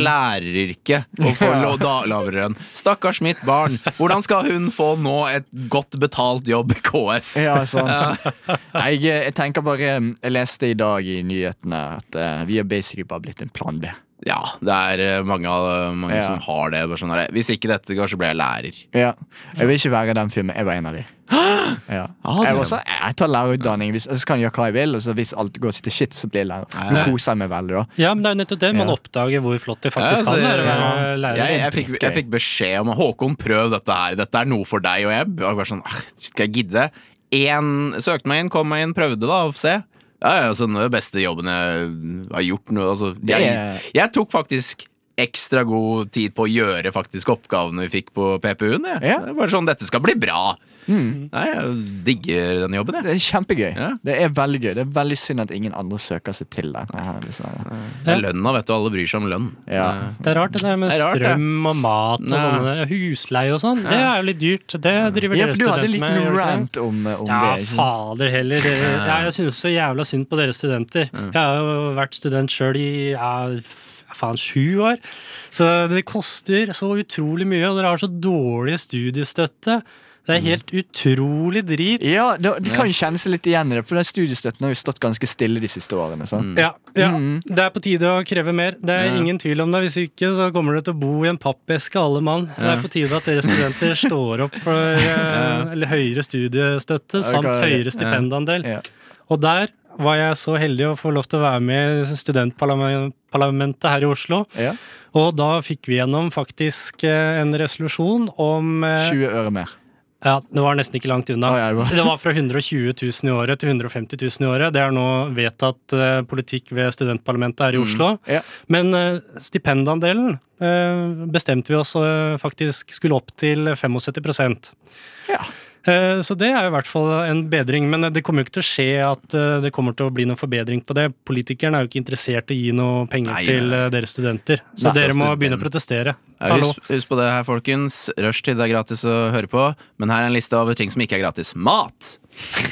S5: læreryrket og få lå- da- lavere lønn. Stakkars mitt barn. Hvordan skal hun få nå et godt betalt jobb i KS?
S2: Ja, sant. Jeg, eh, jeg tenker bare eh, Jeg leste i dag i nyhetene at eh, vi har basically bare blitt en plan B.
S5: Ja, det er eh, mange, av- mange
S2: Ja.
S5: som har det. Bare sånn, her, Hvis ikke dette går, så blir jeg lærer.
S2: Ja. Jeg vil ikke være den filmen. Jeg var
S5: [gasps]
S2: en av de.
S5: Ah,
S2: Ja. Jeg, var sånn, jeg tar lærerutdanning, hvis, så kan jeg gjøre hva jeg vil. Og så hvis alt går til shit, så blir jeg lærer. Nå koser jeg meg veldig, da.
S4: ja, men det er jo nettopp det. Man
S2: Ja.
S4: oppdager hvor flott det
S5: Ja,
S4: faktisk
S5: altså,
S4: kan være å
S5: ja.
S4: være
S5: Jeg,
S4: lærer.
S5: jeg, fikk, jeg fikk beskjed om Håkon, prøv dette her. Dette er noe for deg. Og jeg var bare sånn, «Ah, skal jeg gidde? En, søkte meg inn, kom meg inn, prøvde da, og se. Ja, ja, altså, den beste jobben jeg har gjort nå. Altså, jeg,
S2: Det
S5: jeg tok faktisk ekstra god tid på å gjøre faktisk oppgavene vi fikk på PPU-en. Jeg.
S2: Ja. Mm.
S5: Det er Bare sånn, dette skal bli bra. Nei, jeg digger den jobben, jeg.
S2: Det er kjempegøy.
S5: Ja.
S2: Det er veldig gøy. Det er veldig synd at ingen andre søker seg til det. Dessverre.
S5: Det er lønna, vet du. Alle bryr seg om lønn.
S2: Ja.
S4: Det er rart det der med
S5: Det er rart, det.
S4: strøm og mat og
S5: Ja.
S4: sånne husleie og sånn. Det er jo litt dyrt. Det driver
S2: ja,
S4: dere
S2: for du hadde en
S4: studenter med. gjør
S2: liten
S4: dere ikke det?
S2: rant om, eh, om
S4: Ja,
S2: det. ikke sant?
S4: fader heller. Dere, ja, jeg synes så jævla synd på dere studenter. Jeg har jo vært student sjøl i ja, f- faen sju år. Så det koster så utrolig mye, og dere har så dårlig studiestøtte.
S2: Mm.
S4: Det er helt utrolig drit.
S2: Ja, da, De kan jo kjenne seg litt igjen i det, for den studiestøtten har jo stått ganske stille de siste årene.
S5: Mm.
S2: sant?
S4: Ja, ja.
S2: Mm.
S4: Det er på tide å kreve mer. Det er ingen tvil om det. Hvis ikke så kommer dere til å bo i en pappeske, alle mann. Det er på tide at dere studenter står opp
S2: [laughs]
S4: for eh, eller høyere studiestøtte samt
S2: Ja, det kan-
S4: høyere stipendandel.
S2: Ja.
S4: Og der var jeg så heldig å få lov til å være med i studentparlamentet her i Oslo.
S2: Ja.
S4: Og da fikk vi gjennom faktisk eh, en resolusjon om eh,
S2: 20 øre mer.
S4: Ja, det var nesten ikke langt unna.
S2: Å, ja, det var-
S4: Det var fra 120 000 i året til 150 000 i året. Det er nå vedtatt eh, politikk ved studentparlamentet her i Oslo.
S2: Ja.
S4: Men eh, stipendandelen eh, bestemte vi oss eh, faktisk skulle opp til 75
S2: Ja.
S4: Eh, Så det er jo i hvert fall en bedring, men eh, det kommer jo ikke til å skje at eh, det kommer til å bli noen forbedring på det. Politikerne er jo ikke interessert i å gi noe penger
S5: Nei,
S4: til
S5: nei.
S4: eh, deres studenter, så
S5: Nei,
S4: dere må
S5: student-
S4: begynne å protestere.
S5: Ja,
S4: Hallo.
S5: husk, husk på det her, folkens. Rushtid er gratis å høre på, men her er en liste over ting som ikke er gratis. Mat!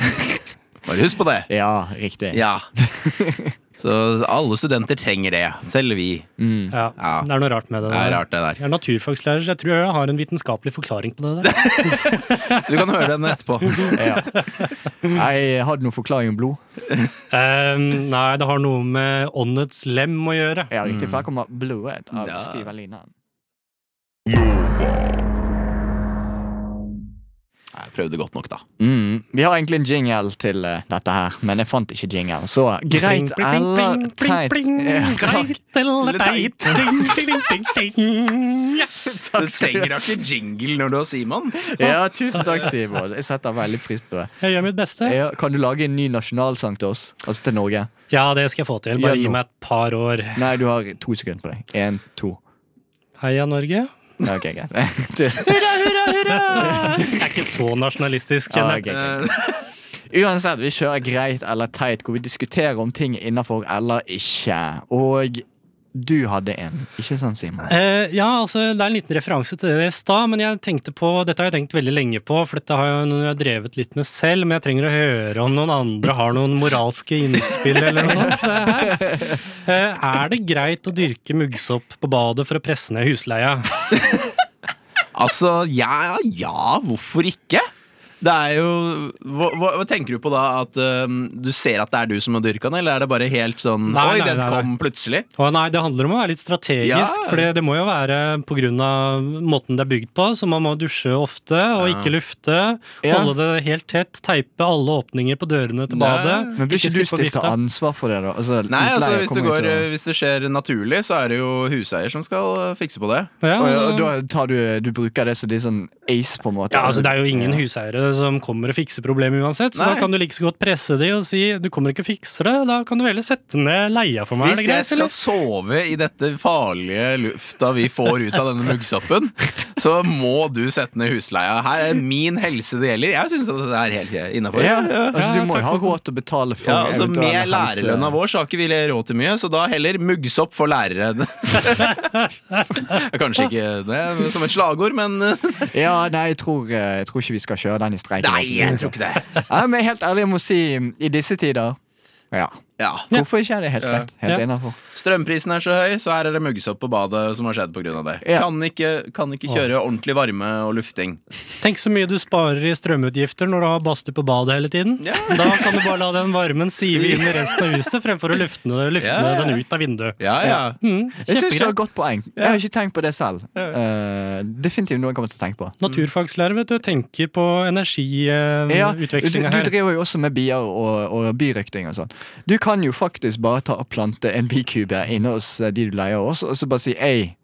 S5: [laughs] Bare husk på det.
S2: Ja, riktig.
S5: Ja. Så alle studenter trenger det. Selv vi.
S4: Ja,
S5: Ja.
S4: Det er noe rart med det.
S5: Det er
S4: der.
S5: rart, det der.
S4: Jeg er naturfagslærer, så jeg tror jeg har en vitenskapelig forklaring på det.
S2: [laughs]
S4: der.
S5: Du kan høre den etterpå. [laughs]
S2: Ja. Jeg hadde noen forklaring om blod.
S4: Eh, nei, det har noe med åndets lem å gjøre.
S2: Ja, riktig, for her kommer blodet av
S5: Mm. Ja.
S2: Steve Alina.
S5: Jeg prøvde godt nok, da.
S2: Mm. Vi har egentlig en jingle til eh, dette her, men jeg fant ikke jingle. Så greit eller teit. Ja, takk.
S4: Greit eller
S5: Eller
S4: teit. Ding, ding, ding, ding, ding. Ja.
S5: Du trenger da ikke jingle når du har Simon.
S2: Ja, tusen takk, Sivert. Jeg setter veldig pris på det.
S4: Jeg gjør mitt beste.
S2: Ja, kan du lage en ny nasjonalsang til oss? Altså til Norge?
S4: Ja, det skal jeg få til. Bare
S2: Gjør
S4: gi
S2: noe.
S4: meg et par år.
S2: Nei, du har to sekunder på deg. Én, to.
S4: Heia Norge.
S2: Ja, Ok, greit. [laughs] Det-
S4: Jeg er ikke så nasjonalistisk.
S2: Ja,
S4: kjenner
S2: ok,
S4: jeg.
S2: greit. Uansett, vi kjører greit eller teit, hvor vi diskuterer om ting innafor eller ikke. Og du hadde en, ikke sant, Simon?
S4: Eh, ja, altså, Det er en liten referanse til det i stad, men jeg tenkte på, dette har jeg tenkt veldig lenge på, for dette har jeg, jeg har drevet litt med selv, men jeg trenger å høre om noen andre har noen moralske innspill eller noe sånt. Så her. Eh, er det greit å dyrke muggsopp på badet for å presse ned husleia?
S5: Altså, ja, ja, hvorfor ikke? Det er jo hva, hva, hva tenker du på da? At øhm, du ser at det er du som har dyrka den, eller er det bare helt sånn
S4: Nei,
S5: Oi,
S4: nei,
S5: den
S4: nei, nei.
S5: kom plutselig.
S4: Å nei, Det handler om å være litt strategisk.
S5: Ja.
S4: For det, det må jo være pga. måten det er bygd på. Så man må dusje ofte og ikke lufte.
S2: Ja.
S4: Holde det helt tett. Teipe alle åpninger på dørene til badet.
S5: Nei,
S2: Men blir ikke du
S4: skru på
S2: stilt til
S4: vifta.
S2: ansvar for det, da? Altså,
S5: Nei, altså
S2: utleier
S5: hvis det,
S2: kommer jo
S5: går,
S2: til å-
S5: øh, hvis det skjer naturlig, så er det jo huseier som skal øh, fikse på det.
S4: Ja,
S2: Og, og da tar du, du bruker det som litt sånn ace, på en måte?
S4: Ja, altså Det er jo ingen huseiere som kommer og fikser problemet uansett, så
S5: Nei.
S4: da kan du like så godt presse de og si du kommer ikke og fikser det, da kan du heller sette ned leia for meg.
S5: Hvis
S4: er det
S5: jeg
S4: greit,
S5: skal
S4: eller?
S5: sove i dette farlige lufta vi får ut av denne muggsoppen, så må du sette ned husleia. Her er min helse det gjelder. Jeg syns det er helt innafor.
S2: Ja, altså Du
S4: Ja,
S2: må jo
S4: takk
S2: ha
S4: for-
S2: råd til å betale for
S5: Ja, altså
S2: eventuelle
S5: Med
S2: helse-
S5: lærerlønna vår så har ikke vi råd til mye, så da heller muggsopp for lærere. [laughs] Kanskje ikke det som et slagord, men [laughs]
S2: Ja, nei, jeg tror, eh, jeg tror ikke vi skal kjøre den i streiken.
S5: Nei, jeg tror ikke det.
S2: Ja, men helt ærlig, jeg må si, i disse tider Ja.
S5: Ja.
S2: Hvorfor ikke? Det er helt
S5: Ja.
S2: rett. Helt
S4: Ja.
S2: innenfor.
S5: Strømprisen er så høy, så her er det muggsopp på badet som har skjedd pga. det.
S2: Ja.
S5: Kan, ikke, kan ikke kjøre ordentlig varme og lufting.
S4: Tenk så mye du sparer i strømutgifter når du har badstue på badet hele tiden.
S5: Ja.
S4: [laughs] Da kan du bare la den varmen sive inn i resten av huset fremfor å lufte, lufte
S5: Ja.
S4: den ut av vinduet.
S5: Ja, ja.
S4: Mm,
S2: Jeg syns du har et
S4: Kjempegreit.
S2: godt poeng. Jeg har ikke tenkt på det selv. Eh, definitivt noe jeg kommer til å tenke
S5: Mm.
S2: på.
S4: Naturfagslærer vet du, tenker på
S2: Ja, du, du
S4: energiutvekslinga Mm, her.
S2: driver jo også med bier og, og birøkting og sånn. Du kan jo faktisk bare ta og plante en bikube inne hos eh, de du leier hos, og så bare si ei,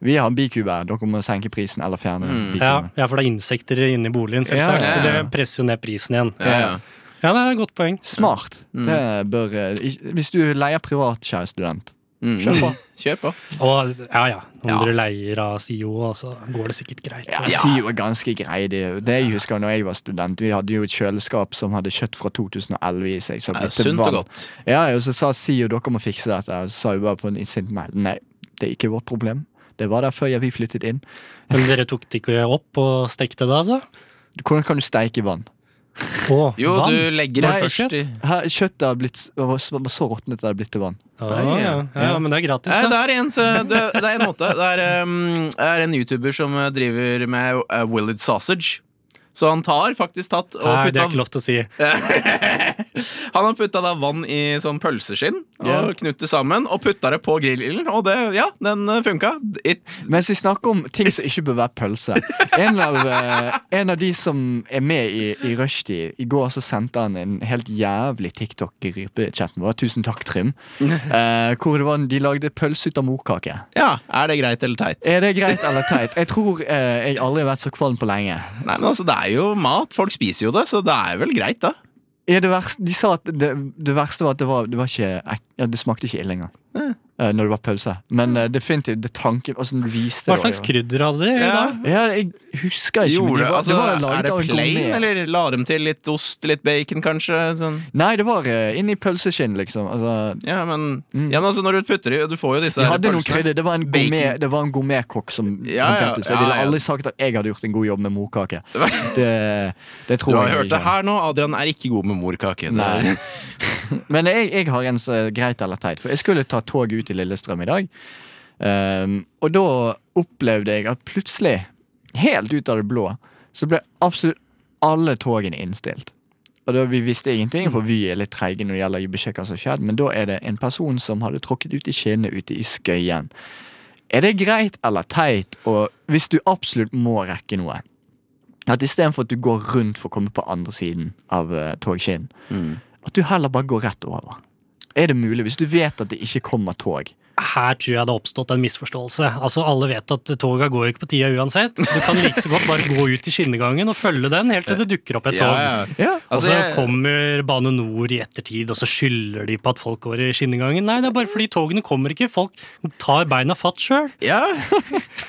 S2: vi har en bikube her, dere må senke prisen eller fjerne
S5: Mm.
S4: Ja,
S2: bikuben.
S4: ja, for det er insekter inne i boligen,
S2: Ja,
S4: selvsagt,
S5: ja,
S4: så
S5: ja.
S4: det presser jo ned prisen igjen.
S5: Ja, ja.
S4: Ja, det er et godt poeng.
S2: Smart.
S5: Mm.
S2: Det bør eh, ik- Hvis du leier privat, kjære student.
S5: Mm.
S2: Kjør på.
S5: Kjør på.
S4: Og ja, ja. Om
S5: Ja.
S4: dere leier av SIO, så går det sikkert greit.
S2: Ja,
S4: altså.
S2: SIO er ganske grei. Det, det jeg husker når jeg var student, vi hadde jo et kjøleskap som hadde kjøtt fra 2011 i seg. Så
S5: Det er
S2: ble det
S5: sunt og
S2: varmt.
S5: godt.
S2: Ja, og så sa SIO dere må fikse dette. Og så sa vi bare på en sint mail nei, det er ikke vårt problem. Det var der før vi flyttet inn.
S4: Men dere tok det ikke opp og stekte det, altså?
S2: Hvordan kan du steike vann?
S4: Og
S5: Jo,
S4: vann?
S5: du legger det
S4: Nei,
S5: først i
S4: kjøtt.
S2: Her, kjøttet har blitt var så var så råtnet at det har blitt til vann.
S4: Ja, ja. ja, men det er gratis,
S5: Nei, det
S4: da.
S5: er en, så- det, det er en måte. Det er, um, det er en YouTuber som driver med uh, Willed eh, Sausage. Så han tar faktisk tatt og
S4: Nei, det
S5: putta
S4: er ikke lov til å si.
S5: Han har putta da vann i sånn pølseskinn og
S2: Ja.
S5: knutt det sammen og putta det på grillen, og det, ja, den eh, funka. It,
S2: Mens vi snakker om ting som ikke bør være pølse En av, eh, en av de som er med i, i Rushdie I går så sendte han en helt jævlig TikTok i rypechatten vår Tusen takk,
S5: [laughs]
S2: Trym eh, Hvor det var, de lagde pølse ut av morkake
S5: ja, er det greit eller teit?
S2: Er det greit eller teit? Jeg tror eh, jeg aldri har vært så kvalm på lenge
S5: Nei, men altså, Det er jo mat, folk spiser jo det, så det er vel greit, da.
S2: ja, det verste, De sa at det, det verste var at det, var, det, var ikke, ek- ja, det smakte ikke ille engang eh, Når det var pølse Men eh, definitivt, det tanken altså, det viste
S4: Hva
S2: det
S4: slags
S2: var jo-
S4: krydder hadde de
S5: Ja.
S4: da?
S2: Ja, jeg husker ikke men
S5: Gjorde,
S2: de var,
S5: altså,
S2: det var laget
S5: er det
S2: av
S5: plain,
S2: gourmet.
S5: eller la dem til litt ost, litt bacon, kanskje? Sånn.
S2: Nei, det var eh, inni pølseskinn, liksom. Altså,
S5: Ja, men, ja, men altså, når du putter i Du får jo disse
S2: de
S5: her
S2: hadde noen
S5: pølsene.
S2: krydder. Det var en
S5: Bacon.
S2: gourmet- det var en gourmetkokk som
S5: Ja, ja,
S2: håndterte det, så
S5: ja,
S2: Jeg ville
S5: ja.
S2: aldri sagt at jeg hadde gjort en god jobb med
S5: [laughs]
S2: morkake. Det, det
S5: Du
S2: tror
S5: har
S2: jeg
S5: hørt det
S2: ikke.
S5: her nå, Adrian er ikke god med morkake. Det-
S2: Nei. [laughs] Men jeg, jeg har en som er greit eller teit. For jeg skulle ta tog ut i Lillestrøm i dag. Ehm, og da opplevde jeg at plutselig, helt ut av det blå, så ble absolutt alle togene innstilt. Og da, Vi visste ingenting, for Vy er litt treige når det gjelder å besjekke hva som har skjedd. Men da er det en person som hadde tråkket ut i skinnet ute i Skøyen. Er det greit eller teit, og hvis du absolutt må rekke noe, at istedenfor at du går rundt for å komme på andre siden av uh, togskinnen, at du heller bare går rett over. Er det mulig, hvis du vet at det ikke kommer tog?
S4: Her tror jeg det har oppstått en misforståelse. Altså, Alle vet at toga går jo ikke på tida uansett. så Du kan like så godt bare gå ut i skinnegangen og følge den helt til det dukker opp et
S5: Ja,
S4: tog.
S5: ja.
S2: Ja.
S5: Altså,
S4: og så
S5: jeg-
S4: kommer Bane Nor i ettertid, og så skylder de på at folk går i skinnegangen. Nei, det er bare fordi togene kommer ikke. Folk tar beina fatt sjøl.
S5: Ja, [laughs]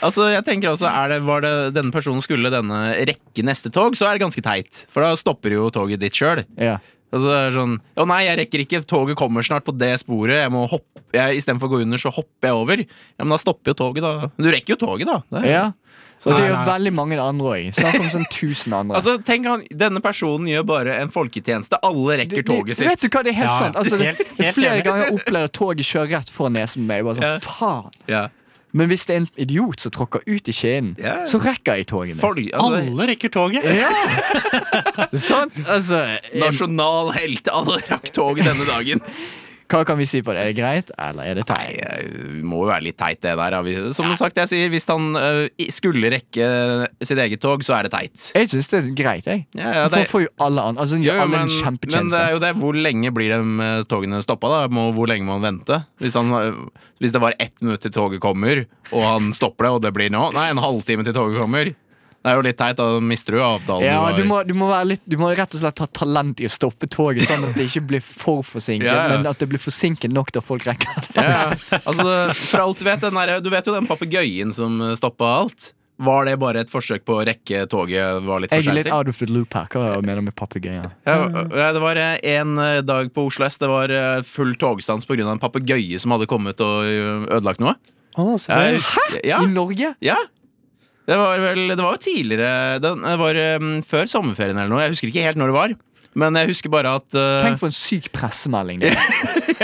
S5: altså jeg tenker også er det, Var det denne personen skulle denne rekke neste tog, så er det ganske teit. For da stopper jo toget ditt sjøl.
S2: Ja.
S5: Altså, det er sånn, Å nei, jeg rekker ikke, toget kommer snart på det sporet. Jeg må hoppe, jeg, Istedenfor å gå under, så hopper jeg over. Ja, Men da stopper jo toget, da. Men du rekker jo toget, da. Det er-
S2: ja. Og det
S4: Nei,
S2: er jo
S4: nei.
S2: veldig mange andre òg. Snakk om
S5: [laughs]
S2: sånn tusen andre.
S5: Altså, tenk han, Denne personen gjør bare en folketjeneste. Alle rekker
S2: Det-
S5: toget
S2: det- Vet
S5: sitt.
S2: du hva, det er helt
S4: Ja,
S2: sant. Altså, det,
S4: helt- helt
S2: det er flere
S4: enig.
S2: ganger jeg opplevd at toget kjører rett for nesen på meg. Bare sånn,
S5: Ja.
S2: faen
S5: Ja.
S2: Men hvis det er en idiot som tråkker ut i skjeen,
S5: Ja.
S2: så rekker jeg toget mitt.
S5: Folk, altså,
S4: Alle rekker toget.
S2: Sant? Altså, eh,
S5: nasjonal helt. Alle rakk toget denne dagen.
S2: hva kan vi si på det? Er det greit, eller er det
S5: Nei,
S2: teit?
S5: det må jo være litt teit, det der. ja. Vi- Som sagt, jeg sier, hvis han ø, i- skulle rekke sitt eget tog, så er det teit.
S2: Jeg syns det er greit, jeg.
S5: Ja, ja,
S2: For
S5: det-
S2: får jo alle andre altså,
S5: Jo,
S2: gjør
S5: jo,
S2: alle
S5: men, men
S2: en
S5: eh, det
S2: kjempetjeneste.
S5: er jo det, hvor lenge blir de ø, togene stoppa? da? Må, hvor lenge må han vente? Hvis, han, ø, hvis det var ett minutt til toget kommer, og han stopper det, og det blir nå Nei, en halvtime til toget kommer. Det er jo litt teit, da mister du jo avtalen.
S2: Ja,
S5: du
S2: du
S5: har.
S2: må, du, må være litt, du må rett og slett ha talent i å stoppe toget, sånn at det ikke blir for forsinket.
S5: Ja, ja.
S2: Men at det blir forsinket nok til at folk rekker det.
S5: Ja, ja. altså, det- for alt du vet, den der, du vet jo den papegøyen som stoppa alt. Var det bare et forsøk på å rekke toget? Var litt for
S2: Jeg er
S5: sent
S2: litt
S5: til?
S2: out of the loop her. Hva mener du med papegøyer?
S5: Ja, ja, det var eh, en eh, dag på Oslo S. Det var eh, full togstans pga. en papegøye som hadde kommet og eh, ødelagt noe. Jeg husker- Ja,
S2: I Norge?
S5: ja. Det var vel Det var jo tidligere den- Det var eh, før sommerferien eller noe. Jeg husker ikke helt når det var. Men jeg husker bare at eh,
S2: Tenk for en syk pressemelding. det. [laughs]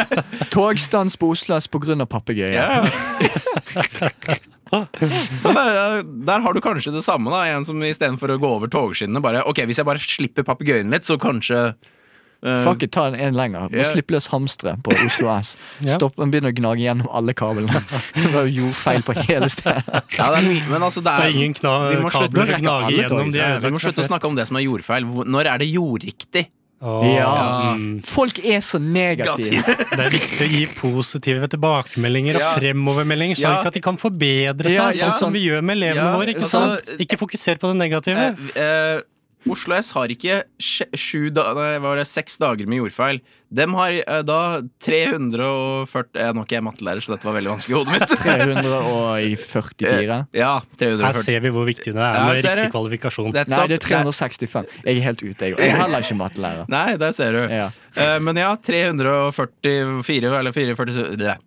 S2: Togstans på Oslo S pga. papegøyer.
S5: ja. [laughs] Men der, der har du kanskje det samme. da En som istedenfor å gå over togskinnene bare Ok, hvis jeg bare slipper papegøyen litt, så kanskje eh,
S2: Fuck it, ta den en lenger.
S5: Ja.
S2: Bare Slipp løs hamstere på Oslo S.
S4: Ja.
S2: Stopp, Den begynner å gnage gjennom alle kablene. [laughs] Det var jo feil på hele stedet.
S5: ja, det er mye, Men altså, det
S4: Det
S5: er,
S4: er ingen kna
S5: vi må slutte-
S4: kabler å
S2: rekke
S4: gnage
S2: alle tog,
S4: gjennom. De
S2: så
S4: er
S5: Vi må slutte å snakke om det som er jordfeil. Hvor- Når er det jordriktig?
S4: Åh,
S2: Ja.
S4: mm.
S2: Folk er så negative. [laughs]
S4: Det er viktig å gi positive tilbakemeldinger
S5: Ja.
S4: og fremovermeldinger, slik
S5: Ja.
S4: at de kan forbedre seg,
S2: Ja, ja.
S4: sånn som vi gjør med elevene
S5: Ja,
S4: våre. Ikke
S5: altså,
S4: sant? Ikke fokuser på det negative.
S5: Eh, eh, Oslo S har ikke sj- sju da, nei, var det seks dager med jordfeil. De har eh, da 340 Jeg eh, er nok ikke mattelærer, så dette var veldig vanskelig i hodet
S4: [laughs]
S5: mitt. Eh,
S2: 344.
S5: Ja,
S4: Her
S5: 340
S4: ser vi hvor viktig det er
S5: Ja,
S4: med
S5: ser
S4: riktig
S5: du?
S4: kvalifikasjon.
S5: Dette-
S2: Nei, det er 365. Jeg er helt ute, jeg. Og Jeg er heller ikke mattelærer.
S5: Nei, der ser du.
S2: Ja.
S5: Eh, men ja, 344 eller 447 det.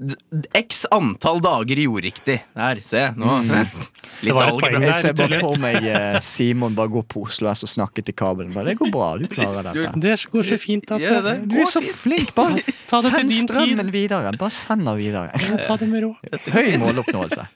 S5: D- X antall dager jordriktig. Der, se. Nå. [laughs] Litt
S4: Mm. Det var et
S5: algebra.
S4: poeng.
S2: Jeg ser
S4: rett og
S2: bare
S4: slett.
S2: for meg eh, Simon bare gå på Oslo S og snakke til kabelen. Bare, det går bra, du klarer dette.
S4: Det går så fint at
S5: Ja, det-
S2: Du er så flink.
S5: [laughs]
S2: Bare
S4: Ta det til
S2: send
S4: din tid.
S2: strømmen videre. Bare send den videre.
S4: Ta det
S5: [laughs]
S4: med ro.
S2: Høy måloppnåelse.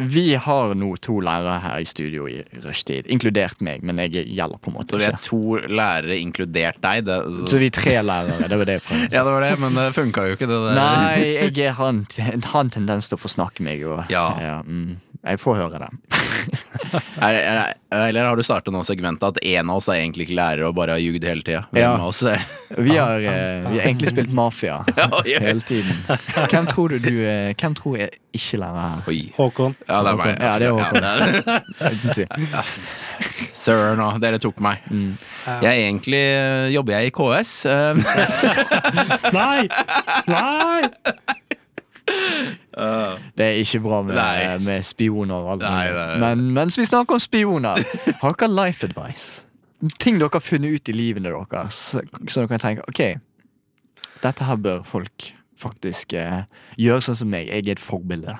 S2: vi har nå to lærere her i studio i rushtid, inkludert meg, men jeg gjelder på en måte
S5: Så vi er
S2: ikke.
S5: to lærere, inkludert deg. Det,
S2: Så vi er tre lærere, det var det jeg prøvde å si.
S5: Ja, det var det, men det funka jo ikke, det der.
S2: Nei, jeg er- har en ten- har en tendens til å forsnakke meg. Og,
S5: Ja.
S2: mm, jeg får høre det.
S5: [laughs] Er, er, eller har du starta nå segmentet at en av oss er egentlig ikke lærer og bare har ljugd hele tida?
S2: Ja. [laughs]
S5: Ja.
S2: Vi har, eh, vi har egentlig spilt mafia
S5: [laughs] ja.
S2: hele tiden. Hvem tror du du eh, Hvem tror jeg ikke lærer her?
S5: Oi.
S4: Håkon.
S5: Ja, det er meg. altså.
S2: Ja, det er Håkon.
S5: det
S2: [laughs]
S5: er-
S2: Uten tvil.
S5: Søren òg, dere tok meg.
S2: Mm.
S5: Jeg egentlig eh, jobber jeg i KS. eh,
S2: [laughs]
S5: [laughs]
S4: Nei! Nei!
S2: Det er ikke bra
S5: Nei.
S2: med, med spioner og alt
S5: Nei,
S2: mulig.
S5: nei, nei.
S2: Men mens vi snakker om spioner, har dere life advice? Ting dere har funnet ut i livene deres, så så dere kan tenke ok, dette her bør folk faktisk eh, gjøre sånn som meg. Jeg er et forbilde.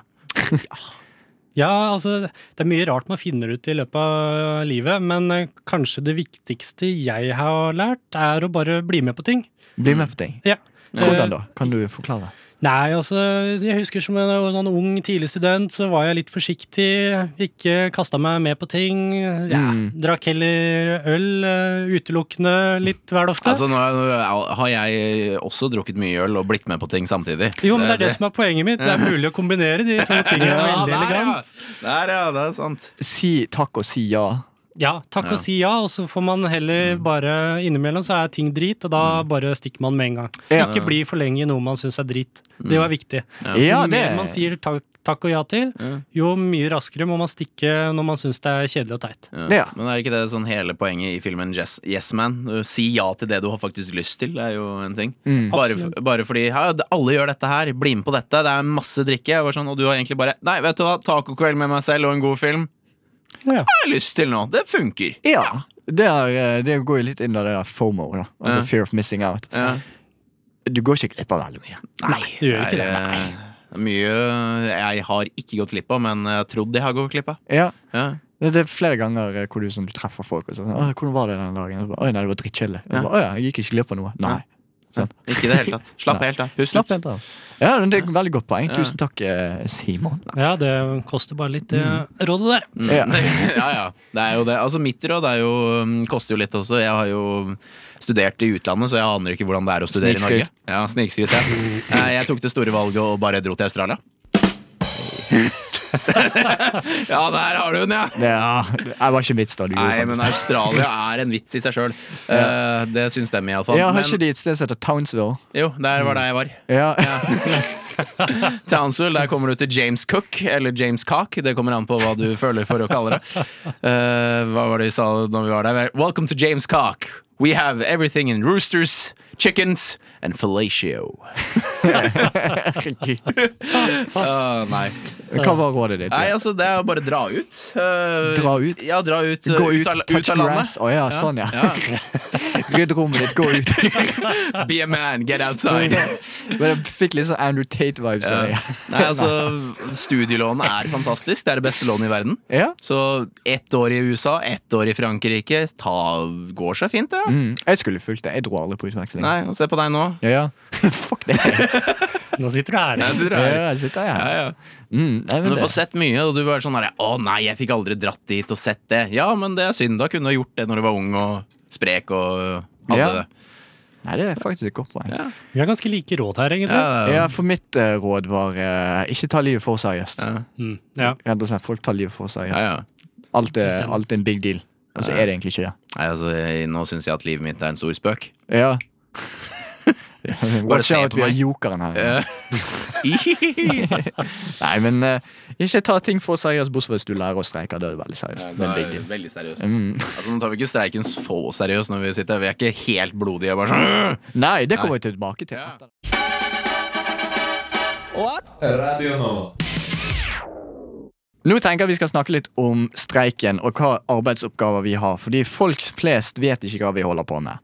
S4: Ja, altså, det er mye rart man finner ut i løpet av livet, men eh, kanskje det viktigste jeg har lært, er å bare bli med på ting.
S2: Bli med på ting.
S4: Ja.
S2: Hvordan da? Kan du forklare?
S4: Nei, altså, jeg husker som en sånn ung, tidlig student, så var jeg litt forsiktig. Ikke kasta meg med på ting. Ja,
S2: Mm.
S4: Drakk heller øl eh, utelukkende litt vel ofte.
S5: altså, nå er- har jeg også drukket mye øl og blitt med på ting samtidig.
S4: jo, men det er det som er poenget mitt. Det er mulig å kombinere de to tingene
S5: [laughs] Ja,
S4: veldig
S5: der, ja.
S4: elegant.
S5: Der, ja. Det er sant.
S2: Si takk og si ja. Mm.
S4: Ja, takk
S5: Ja.
S4: og si ja, og så får man heller bare innimellom så er ting drit, og da bare stikker man med en gang.
S2: Ja. Mm.
S4: Ikke bli for lenge i noe man syns er drit. Det var viktig.
S2: Ja,
S4: Jo
S2: det
S4: mer man sier takk, takk og ja til, jo mye raskere må man stikke når man syns det er kjedelig og teit.
S2: Ja.
S5: Men er ikke det sånn hele poenget i filmen Yes, yes Man? Du, Si ja til det du har faktisk lyst til, er jo en ting.
S2: mm.
S5: Bare, f- bare fordi ja, det- alle gjør dette her, bli med på dette, det er masse drikke. Jeg var sånn, og du har egentlig bare Nei, vet du hva, tacokveld med meg selv og en god film.
S4: Ja.
S5: Det har jeg lyst til nå. Det funker.
S2: ja. Det, er, eh, det går jo litt inn i det der FOMO, da. altså
S5: Ja.
S2: fear of missing out.
S5: Ja.
S2: Du går ikke glipp av veldig mye.
S5: Nei,
S4: Du gjør
S5: er,
S4: ikke det.
S5: eh, Mye jeg har ikke gått glipp av, men jeg har trodd jeg har gått glipp av.
S2: Ja.
S5: Ja.
S2: Det det er flere ganger eh, hvor du, sånn, du treffer folk og sånn «Åh, 'Hvordan var det den dagen?' Og så bare, 'Oi, nei, det var drittkjedelig.' Og så
S5: Ja.
S2: bare, «Åh, ja, jeg gikk ikke glipp av noe. Nei.
S5: Ikke i det hele tatt. Slapp
S2: Nei.
S5: helt av. Husk
S2: Slapp helt av. Ja, men det er et veldig godt poeng.
S5: Ja.
S2: Tusen takk, eh, Simon.
S4: Ja, det koster bare litt, eh, det
S2: Mm.
S4: rådet der.
S2: Ja.
S5: Mm. [laughs] ja, ja. Det er jo det. Altså, mitt råd er jo, um, koster jo litt også. Jeg har jo studert i utlandet, så jeg aner ikke hvordan det er å studere i Norge.
S2: Snikskryt.
S5: Ja, Snikskryt. Ja. Eh, Jeg tok det store valget og bare dro til Australia. [laughs] ja, der har du den, ja!
S2: Ja, jeg var ikke mitt stadion.
S5: Nei, men Australia er en vits i seg sjøl. Eh, det syns dem iallfall.
S2: Ja, har
S5: Men
S2: ikke de et sted som heter Townsville?
S5: jo, der var der jeg var.
S2: Ja, [laughs]
S5: Townsville, der kommer du til James Cook, eller James Cock. Det kommer an på hva du føler for å kalle det. Eh, hva var det vi sa når vi var der? Welcome to James Cock. We have everything in roosters, chickens and fellatio.
S2: herregud.
S5: [laughs] Ah, nei.
S2: Hva var rådet ditt?
S5: nei, altså det er å bare dra ut. Eh,
S2: Dra ut?
S5: Ja, dra ut. eh,
S2: Gå ut,
S5: av-
S2: touch grass. Å altså, ja, sånn, ja. [laughs] Rydd rommet ditt, gå ut.
S5: ja. Be a man, get outside.
S2: [laughs] Men jeg fikk litt sånn Andrew Tate-vibes av det.
S5: Ja. Eh, Nei, altså Studielånet er fantastisk. Det er det beste lånet i verden.
S2: Ja.
S5: Så ett år i USA, ett år i Frankrike ta, går seg fint, det. Ja.
S2: Mm, jeg skulle fulgt det. Jeg dro aldri på utveksling.
S5: Nei, og se på deg nå.
S2: Ja, ja. Fuck det.
S4: Nå sitter du her.
S5: sitter
S2: Ja, jeg sitter her.
S5: Ja, ja.
S2: Mm, nei, men
S5: Men du
S2: det.
S5: får sett mye, og du er sånn her Å nei, jeg fikk aldri dratt dit og sett det. Ja, men det er synd. Da kunne du ha gjort det når du var ung og sprek og hadde
S2: Ja.
S5: det.
S2: nei, det er faktisk et godt poeng.
S4: Vi har ganske like råd her, egentlig.
S2: Ja, for mitt eh, råd var eh, ikke ta livet for seriøst.
S5: Ja.
S4: Mm, ja.
S2: Rett og slett, folk tar livet for seriøst.
S5: ja, ja.
S2: Alt, er, alt er en big deal, og så er det egentlig ikke det.
S5: Nei, altså, jeg, nå syns jeg at livet mitt er en stor spøk. [laughs]
S2: Ja. Watch
S5: se
S2: out,
S5: på
S2: vi er
S5: meg.
S2: jokeren her.
S5: Ja.
S2: [laughs] Nei, men eh, ikke ta ting for seriøst, bortsett fra hvis du lærer å streike. Da er det veldig seriøst. Men big deal.
S5: Eh, veldig seriøst.
S2: Mm.
S5: [laughs] Altså, nå tar vi ikke streiken så seriøst når vi sitter her. Vi er ikke helt blodige. Bare sånn
S2: Nei, det kommer vi tilbake til.
S5: Ja.
S2: Nå tenker jeg vi skal snakke litt om streiken og hva arbeidsoppgaver vi har. Fordi folk flest vet ikke hva vi holder på med.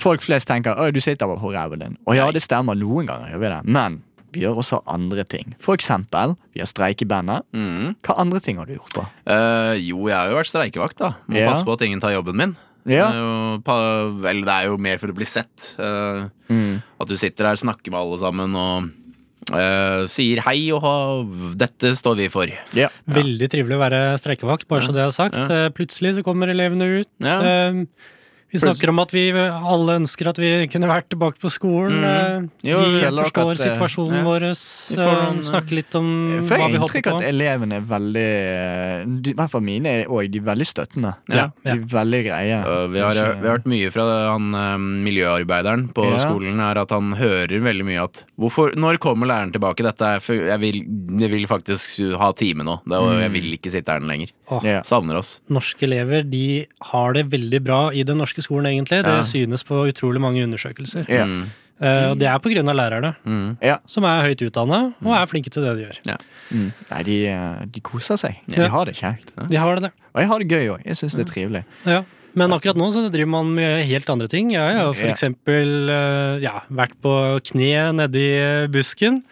S2: Folk flest tenker «Øy, du sitter bare på ræven din. Og ja, det stemmer noen ganger, gjør vi det. men vi gjør også andre ting. For eksempel, vi har streikebandet. Hva andre ting har du gjort på?
S5: Eh, jo, jeg har jo vært streikevakt, da. Må
S2: Ja.
S5: passe på at ingen tar jobben min.
S2: Ja.
S5: Det, er jo, pa,
S2: Mm.
S5: vel, det er jo mer for å bli sett. eh, At du sitter der, snakker med alle sammen og eh, sier hei og ha, dette står vi for.
S2: Ja.
S4: Veldig trivelig å være streikevakt, bare så det er sagt. Eh, Plutselig så kommer elevene ut.
S5: Ja.
S4: Eh, Vi snakker om at vi alle ønsker at vi kunne vært tilbake på skolen.
S2: Mm.
S4: Eh,
S5: Jo,
S4: De
S5: jeg
S2: føler nok
S4: forstår
S2: at, eh,
S4: situasjonen
S5: ja.
S4: vår.
S5: Vi får noen,
S4: eh,
S5: eh,
S4: Snakker litt om
S2: Jeg
S4: hva
S2: får
S4: vi håper
S2: inntrykk
S4: på.
S2: at elevene er veldig eh, de- I hvert fall mine er òg de er veldig støttende.
S5: Ja.
S2: De er veldig greie.
S5: Eh, vi, har, vi har hørt mye fra han eh, miljøarbeideren på
S2: Ja.
S5: skolen her at han hører veldig mye at hvorfor, Når kommer læreren tilbake? Dette er for, jeg, vil, jeg vil faktisk ha time nå. Det, er- jeg vil ikke sitte her lenger.
S4: Åh,
S2: Ja.
S5: Savner oss.
S4: Norske elever de har det veldig bra i den norske skolen, egentlig. Det
S5: Ja.
S4: synes på utrolig mange undersøkelser.
S2: Ja. Mm.
S5: Mm.
S4: Eh, Og det er på grunn av lærerne,
S2: Ja.
S4: som er høyt utdanna og er flinke til det de gjør.
S2: Mm. Nei, de, eh, de koser seg.
S4: Ja.
S2: De har det kjekt.
S4: De har det,
S2: Og jeg har det gøy òg. Jeg syns det er trivelig.
S4: ja. Men akkurat nå så driver man med helt andre ting. Jeg har jo for
S2: Ja.
S4: eksempel eh, ja, vært på kne nedi busken.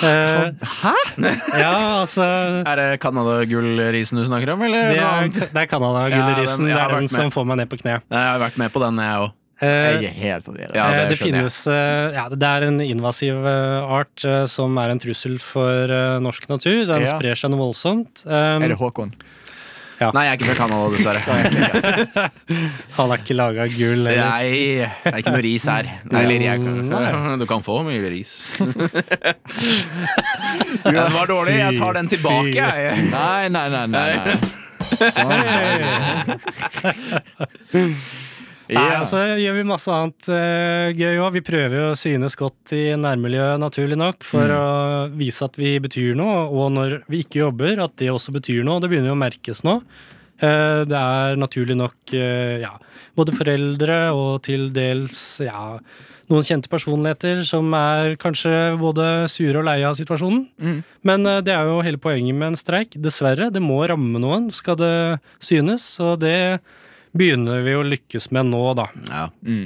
S4: Eh,
S2: Hæ?
S4: [laughs] ja, altså
S5: Er det Canada-gullrisen du snakker om, eller noe
S4: Det er,
S5: annet?
S4: det er Canada-gullerisen.
S5: Ja, den- jeg
S4: det
S5: har
S4: er den
S5: vært
S4: som
S5: med.
S4: får meg ned på kne.
S5: Nei, Jeg har vært med på den, jeg òg.
S4: Eh,
S2: Jeg er helt forvirret.
S5: Ja,
S4: Eh, det,
S5: det skjønner jeg.
S4: finnes eh, ja, Det er en invasiv eh, art eh, som er en trussel for eh, norsk natur. Den
S2: Ja.
S4: sprer seg noe voldsomt. Um,
S2: Er det Håkon?
S5: Nei, jeg er ikke fra Canada, [laughs] dessverre.
S4: han er ikke laga av gull. eller-
S5: Nei, det er ikke noe ris her. Nei, eller jeg kan, [laughs] du kan få mye ris. [laughs] Den var dårlig. Jeg tar den tilbake, jeg.
S2: Nei, nei, nei. nei, nei. Sånn.
S4: [laughs] Nei,
S2: Ja.
S4: altså gjør vi masse annet eh, gøy òg. Vi prøver jo å synes godt i nærmiljøet, naturlig nok, for å vise at vi betyr noe. Og når vi ikke jobber, at det også betyr noe. Det begynner jo å merkes nå. Eh, Det er naturlig nok eh, ja, både foreldre og til dels ja, noen kjente personligheter som er kanskje både sure og leie av situasjonen. Men eh, det er jo hele poenget med en streik. Dessverre, det må ramme noen, skal det synes. Og det begynner vi å lykkes med nå, da.
S5: Ja.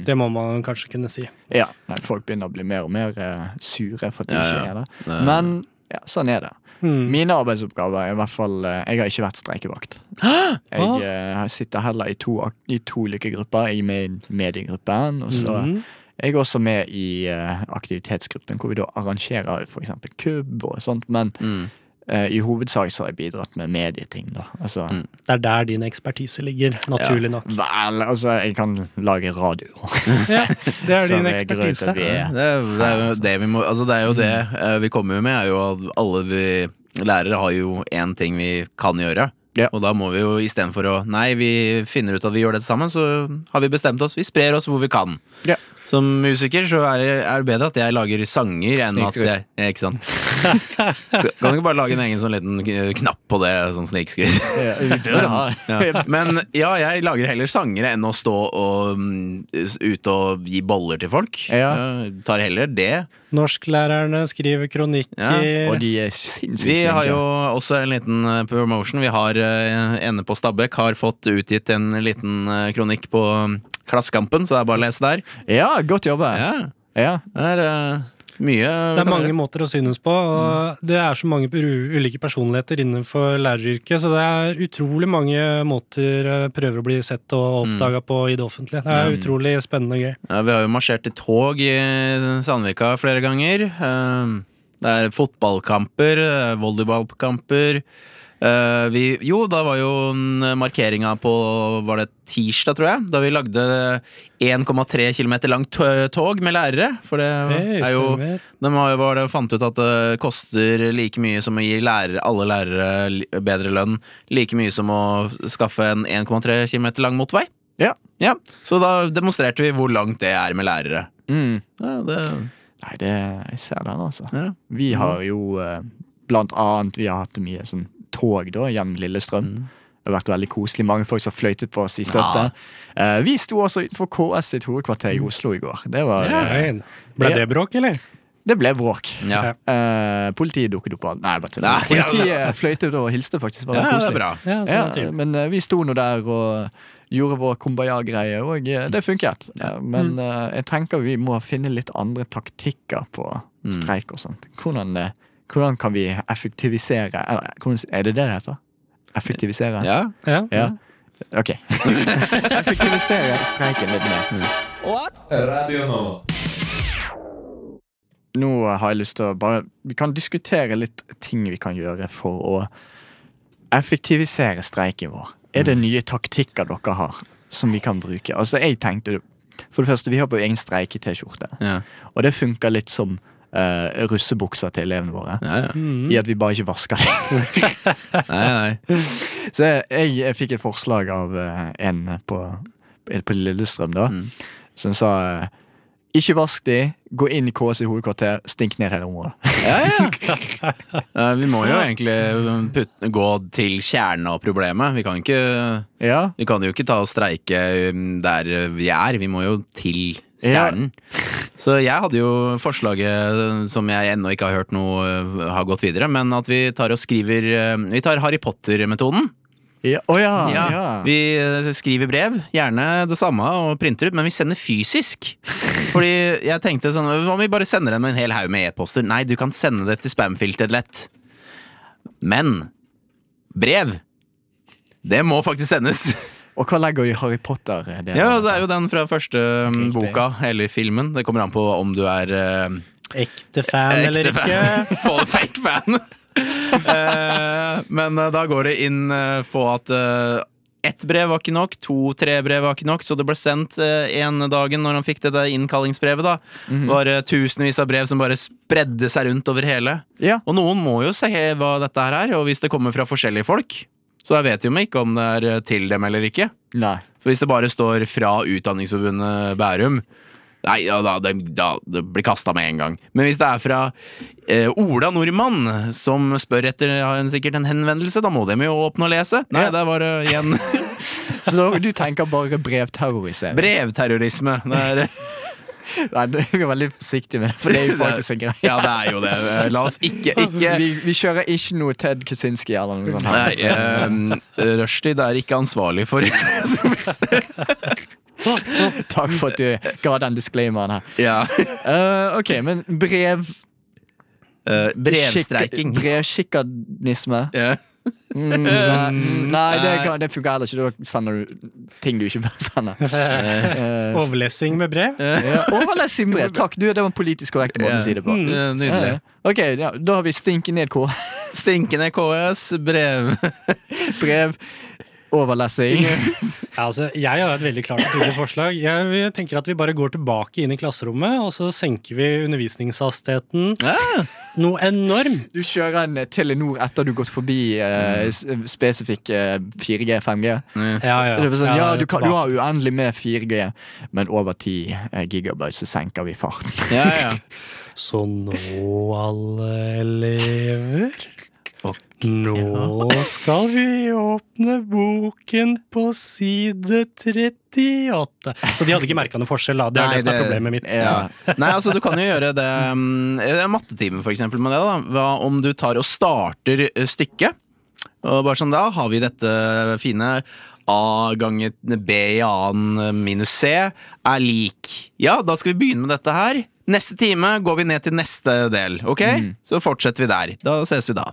S4: Det må man kanskje kunne si.
S2: Ja, nei, folk begynner å bli mer og mer eh, sure for at de
S5: Ja,
S2: ikke
S5: ja.
S2: er det. Men ja, sånn er det.
S5: Mm.
S4: Mm.
S2: Mine arbeidsoppgaver er i hvert fall eh, Jeg har ikke vært streikevakt. Jeg eh, sitter heller i to, ak- i to ulike grupper. Jeg er med i mediegruppen, og så
S5: Mm.
S4: Mm.
S2: jeg er også med i eh, aktivitetsgruppen, hvor vi da arrangerer f.eks. kubb og sånt. Men
S5: Mm.
S2: eh, i hovedsak så har jeg bidratt med medieting, da. Altså,
S5: Mm.
S4: Det er der din ekspertise ligger, naturlig nok.
S2: Vel, altså, jeg kan lage
S5: [laughs]
S2: radio.
S4: [laughs] Ja, det er
S2: Som
S4: din
S2: er grunnen til
S4: ekspertise.
S2: at vi er
S5: Det, er- det er jo det vi må Altså, det er jo det
S2: Mm.
S5: eh, vi kommer med, er jo at alle vi lærere har jo én ting vi kan gjøre.
S2: Ja.
S5: Og da må vi jo istedenfor å Nei, vi finner ut at vi gjør dette sammen, så har vi bestemt oss. Vi sprer oss hvor vi kan.
S2: Ja.
S5: Som musiker så er det, er det bedre at jeg lager sanger enn at
S2: Snikskryt.
S5: jeg ja, Ikke
S2: [laughs]
S5: sant? så kan du ikke bare lage en egen sånn liten eh, knapp på det, sånn snikskritt?
S2: Ja, vi bør ha.
S5: Ja. Men ja, jeg lager heller sangere enn å stå og mm, ut og gi boller til folk.
S2: Ja.
S5: Jeg tar heller det.
S4: Norsklærerne skriver
S5: Ja,
S4: kronikker.
S2: [laughs] Og de er sinnssykt
S5: Vi har
S2: flinke.
S5: jo også en liten eh, promotion. Vi har eh, Ende på Stabæk har fått utgitt en liten eh, kronikk på mm, Klassekampen, så det er bare å lese der.
S2: Ja, godt jobba.
S5: Ja,
S2: Ja.
S5: det er eh, mye
S4: Det er mange måter å synes på, og det er så mange ru- ulike personligheter innenfor læreryrket, så det er utrolig mange måter eh, prøver å bli sett og oppdaga på i det offentlige. Det er utrolig spennende og gøy.
S5: Ja, vi har jo marsjert i tog i Sandvika flere ganger. Ehm, Det er fotballkamper, eh, volleyballkamper. Eh, Vi, jo, da var jo markeringa på Var det tirsdag, tror jeg? Da vi lagde 1,3 km langt tø- tog med lærere. For det
S4: Hei,
S5: er jo
S4: stemmer.
S5: De har jo var det, fant ut at det koster like mye som å gi lærere, alle lærere li- bedre lønn. Like mye som å skaffe en 1,3 km lang motorvei.
S2: Ja.
S5: Ja, Så da demonstrerte vi hvor langt det er med lærere.
S2: Mm.
S5: Ja, det,
S2: Nei, det, jeg ser den, altså.
S5: ja.
S2: Vi har jo eh, blant annet Vi har hatt mye sånn tog da gjennom Lillestrøm.
S5: Mm.
S2: Det har vært veldig koselig. Mange folk som fløytet på oss i støtte. Eh, vi sto også utenfor KS sitt hovedkvarter
S5: Mm.
S2: i Oslo i går. Det, var, eh,
S4: Hei. Ble det bråk, eller?
S2: det ble bråk.
S5: Ja.
S4: Ja.
S2: Eh, politiet dukket opp. Nei, bare tull.
S5: Nei, ja,
S2: Politiet fløytet og hilste, faktisk. Det var
S5: ja, det
S2: koselig.
S5: er bra.
S4: Ja, så det er
S2: Ja,
S4: trivelig.
S2: men eh, vi sto nå der og eh, gjorde vår kumbaya-greie, og eh, det funket. Eh,
S4: Mm.
S2: Men eh, jeg tenker vi må finne litt andre taktikker på streik og sånt. Hvordan, eh, hvordan kan vi effektivisere eller, eh, hvordan, Er det det det heter? Effektivisere?
S5: Ja.
S4: Ja.
S2: Ja. Ok. Mm. Effektivisere streiken litt mer.
S1: Radio Nova.
S2: nå har jeg lyst til å bare Vi kan diskutere litt ting vi kan gjøre for å effektivisere streiken vår. Er
S5: Mm.
S2: det nye taktikker dere har som vi kan bruke? Altså, jeg tenkte For det første, vi har på egen streike-T-skjorte.
S5: Ja.
S2: Og det funker litt som eh, russebukser til elevene våre.
S5: Ja, ja.
S2: I at vi bare ikke vasker dem.
S5: Nei, nei.
S2: Så jeg, jeg, jeg fikk et forslag av eh, en på, på Lillestrøm, da,
S5: Mm.
S2: som sa eh, ikke vask de, gå inn i KS i hovedkvarter, stink ned hele området. [laughs]
S5: Ja, ja. Eh, Vi må jo egentlig putte, gå til kjernen av problemet. Vi kan, ikke,
S2: Ja,
S5: vi kan jo ikke ta og streike um, der vi er. Vi må jo til kjernen. Så jeg hadde jo forslaget som jeg ennå ikke har hørt noe eh, har gått videre, men at vi tar og skriver eh, Vi tar Harry Potter-metoden.
S2: Ja, å ja, ja.
S5: Ja. Vi eh, skriver brev, gjerne det samme, og printer ut, men vi sender fysisk. Fordi jeg tenkte sånn Hva om vi bare sender dem en hel haug med e-poster? Nei, du kan sende det til spamfilteret lett. Men brev det må faktisk sendes.
S2: Og hva legger du i Harry Potter? eh, Det
S5: [laughs] Ja, altså- Det er jo den fra første mm,
S2: Riktig.
S5: boka, eller filmen. Det kommer an på om du er eh,
S4: Ekte fan eller
S5: Ekte
S4: ikke?
S5: fan. [laughs] Få fake fan. Eh, men eh, da går det inn eh, på at eh, ett brev var ikke nok, to-tre brev var ikke nok, så det ble sendt eh, en dagen når han fikk det der innkallingsbrevet. da var eh, tusenvis av brev som bare spredde seg rundt over hele.
S2: Ja.
S5: Og noen må jo se hva dette her er, og hvis det kommer fra forskjellige folk, så jeg vet jo meg ikke om det er eh, til dem eller ikke.
S2: Nei.
S5: For hvis det bare står fra Utdanningsforbundet Bærum Nei, ja, da, det, da det blir kasta med en gang. Men hvis det er fra eh, Ola Nordmann, som spør etter har hun sikkert en henvendelse, da må de jo åpne og lese. Nei,
S2: Ja.
S5: der var det
S2: [laughs]
S5: igjen
S2: Så du tenker bare brevterrorisering?
S5: brevterrorisme. Det er,
S2: Nei, du er veldig forsiktig med det, for det er jo faktisk
S5: [laughs]
S2: en greie.
S5: ja, det er jo det. Eh, La oss ikke, ikke
S2: Vi, vi kjører ikke noe Ted Kaczynski eller noe sånt. her.
S5: Nei, eh, Rushdie det er ikke ansvarlig for [laughs]
S2: [laughs] Takk for at du ga den disclaimeren her.
S5: ja.
S2: Eh, ok, men brev...
S5: Eh, Brevstreiking.
S2: skikk- Brevskikkanisme.
S5: Ja.
S2: Mm, nei, nei, det, kan, det funker heller ikke. Da sender du ting du ikke bør sende. Uh,
S4: Overlesing med brev?
S2: Eh, Overles Simre. Takk. Du, det var en politisk korrekt måte å si det på.
S5: Eh, Nydelig.
S2: Ja, ja. Ok, ja, Da har vi stinke ned KS,
S5: Stinkende KS, brev
S2: brev, overlessing.
S4: Ja, altså, jeg har et veldig klart og tydelig forslag. Jeg vil- tenker at vi bare går tilbake inn i klasserommet, og så senker vi undervisningshastigheten
S5: Ja.
S4: noe enormt.
S2: Du kjører en eh, Telenor etter du har gått forbi eh, s- spesifikk eh, 4G, 5G.
S4: Ja, ja.
S2: Det er sånn, ja, du, kan, du
S4: tilbake.
S2: har uendelig med 4G, men over 10 gigabyte så senker vi farten.
S5: Ja, ja.
S4: Så nå, alle elever
S5: Ok,
S4: Nå skal vi åpne boken på side 38. Så de hadde ikke merka noe forskjell, da. Det er
S5: Nei,
S4: det som er
S5: det-
S4: problemet mitt.
S5: Ja.
S4: [laughs]
S5: Nei, altså du kan jo gjøre det mm, eh, Mattetimen for eksempel med det da Hva om du tar og starter eh, stykket Og bare sånn da har vi dette fine A ganger B i annen eh, minus C Er lik Ja, da skal vi begynne med dette her Neste time går vi ned til neste del Ok?
S2: Mm.
S5: Så fortsetter vi der Da ses vi da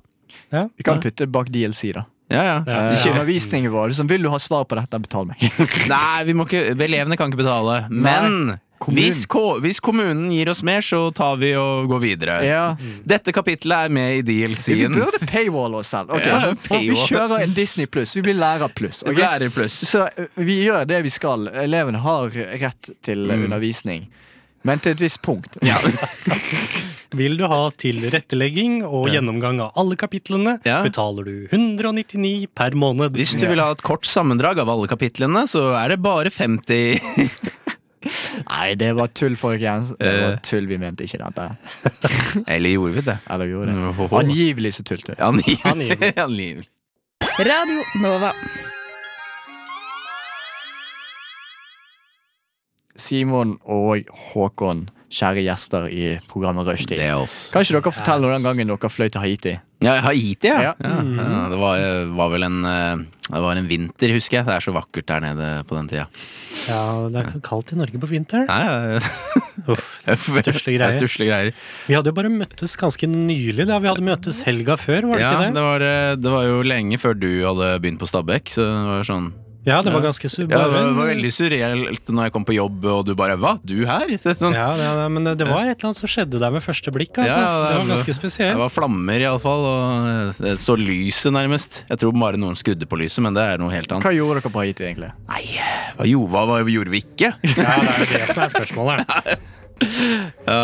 S4: Ja.
S2: Vi kan putte bak DLC, da.
S5: Ja, ja,
S4: Ja,
S2: Eh,
S5: Kjø-
S2: Undervisningen vår. Liksom, vil du ha svar på dette, betal meg.
S5: [laughs] Nei, vi må ikke, elevene kan ikke betale Men
S2: kommunen.
S5: hvis, ko- hvis kommunen gir oss mer Så tar vi og går videre
S2: ja.
S5: Mm. Dette kapitlet er med i
S2: Vi
S5: DLC-en.
S2: burde paywall oss selv. Ok,
S5: Ja,
S2: så-
S5: paywall.
S2: Vi kjører en Disney pluss. Vi blir lærer pluss. ok?
S5: Lærer pluss.
S2: Så eh, vi gjør det vi skal. Elevene har rett til eh, undervisning. Men til et visst punkt.
S5: Mm. Ja.
S4: Vil du ha tilrettelegging og gjennomgang av alle kapitlene,
S5: Ja.
S4: betaler du 199 per måned.
S5: Hvis du vil ha et kort sammendrag av alle kapitlene, så er det bare 50
S2: [laughs] Nei, det var tull, folkens. Det
S5: Eh.
S2: var tull, Vi mente ikke dette.
S5: [laughs] Eller gjorde vi det?
S2: Eller vi gjorde det.
S5: Mm, ho-ho.
S2: Angivelig så tullte vi.
S5: [laughs] Angivelig.
S4: Angivelig.
S5: Angivelig.
S6: Radio Nova.
S2: Simon og Håkon, kjære gjester i programmet
S5: Det
S2: Rushtid.
S5: er oss.
S2: Kan ikke dere fortelle om den gangen dere fløy til Haiti?
S5: Ja, Haiti, ja.
S2: Ja.
S5: ja.
S4: Mm.
S5: ja det var, var vel en eh, Det var en vinter, husker jeg. Det er så vakkert der nede på den tida.
S4: Ja, det er kaldt i Norge på vinteren.
S5: Nei, det er-
S4: Uff,
S5: [laughs] det er
S4: Stusslige greier.
S5: stusslige greier.
S4: Vi hadde jo bare møttes ganske nylig. da Vi hadde møttes helga før, var det
S5: Ja,
S4: ikke
S5: det
S4: det?
S5: var, eh, det var jo lenge før du hadde begynt på Stabekk, så det var sånn
S4: Ja, det var ganske
S5: Ja, det var, det
S4: suburban.
S5: var veldig surreelt når jeg kom på jobb, og du bare Hva? Du her? [laughs] Det, er sånn,
S4: Ja, ja, ja, men det var et eller annet som skjedde der med første blikk. Altså.
S5: Ja, ja,
S4: det,
S5: det-
S4: var ganske
S5: det
S4: spesielt.
S5: var flammer, iallfall. Og det så lyset, nærmest. Jeg tror bare noen skrudde på lyset, men det er noe helt
S2: Hva
S5: annet.
S2: gjorde dere på Haiti, egentlig?
S5: Nei, hva, jo, hva, hva gjorde vi
S2: [laughs]
S5: ikke?
S4: Ja, det er jo det som er spørsmålet. her.
S5: Ja,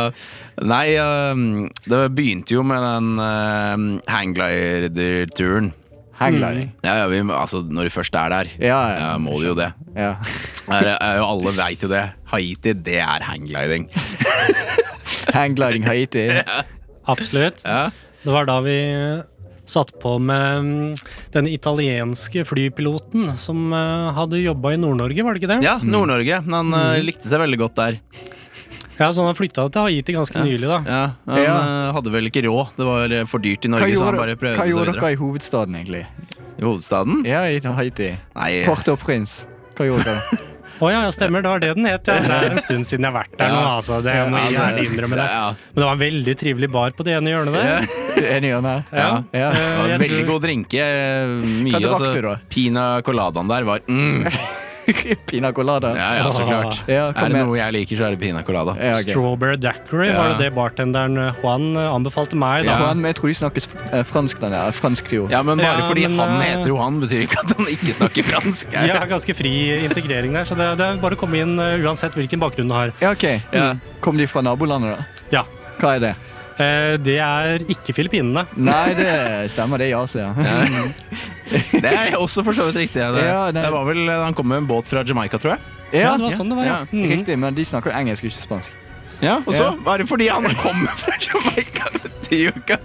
S5: nei, eh, det begynte jo med den uh, hanglider-turen.
S2: Hangliding.
S5: Ja, ja, vi, altså, når du først er der,
S2: Ja, ja.
S5: ja, må du jo det.
S2: Ja. [laughs]
S5: Er, er jo, alle veit jo det. Haiti, det er hangliding. [laughs]
S2: Hangliding Haiti.
S4: Absolutt.
S5: Ja.
S4: Det var da vi eh, satt på med mm, den italienske flypiloten som eh, hadde jobba i Nord-Norge, var det ikke det?
S2: Mm.
S5: Ja, Nord-Norge. Han eh, likte seg veldig godt der.
S4: Ja, så han flytta til Haiti ganske nylig, da.
S5: Ja, han
S2: Ja.
S5: eh, hadde vel ikke råd. Det var eh, for dyrt i
S2: Hva
S5: Norge, så han
S2: gjorde,
S5: bare prøvde
S2: hva
S5: seg
S2: gjorde
S5: videre.
S2: dere i hovedstaden, egentlig?
S5: I hovedstaden?
S2: Ja, i sånn Haiti.
S5: Nei,
S2: Porte og Prins. Hva gjorde
S5: [laughs]
S2: dere?
S4: Å ja, ja, stemmer, det var det den het. Ja. Det er en stund siden jeg har vært der nå,
S5: Ja.
S4: altså. Det må jeg gjerne innrømme det.
S5: Ja,
S4: Men det var en veldig trivelig bar på det ene hjørnet der.
S2: Enig i hjørnet?
S4: Ja.
S2: Ja.
S4: Eh,
S5: det var
S4: jeg
S5: veldig
S4: tror-
S5: god drinke. eh, Mye,
S2: Hva drakk
S5: altså.
S2: du da?
S5: Pina coladaen der var mm.
S2: [laughs] Pina colada.
S5: Ja, ja, så klart.
S2: [laughs] Ja, kom
S5: Er det
S2: igjen.
S5: noe jeg liker, så er det pina colada.
S2: Ja, ok.
S4: Strawberry Dackery
S5: Ja.
S4: var det det bartenderen eh, Juan eh, anbefalte meg.
S5: Ja.
S4: da.
S2: Faen, men jeg tror de snakkes eh, fransk, den der. Fransk trio.
S5: Ja, men bare
S4: Ja,
S5: fordi
S4: men,
S5: han
S4: eh,
S5: heter Johan, betyr ikke at han ikke snakker fransk.
S4: De har ganske fri integrering der, så det, det er bare å komme inn eh, uansett hvilken bakgrunn du har.
S2: Ja, ok. Kom de fra nabolandet, da?
S4: Ja,
S2: Hva er det?
S4: eh, Det er ikke Filippinene.
S2: Nei, det stemmer. Det er i Asia.
S5: Det er også for så vidt riktig. Det,
S2: Ja,
S5: det,
S2: det-
S5: var vel, eh, Han kom med en båt fra Jamaica, tror jeg.
S4: Ja, det var sånn det var, ja.
S5: Ja.
S4: Mhm.
S2: Riktig, men de snakker jo engelsk, ikke spansk.
S5: Ja, Og så
S2: Ja.
S5: var det fordi han kommer fra Jamaica til uka.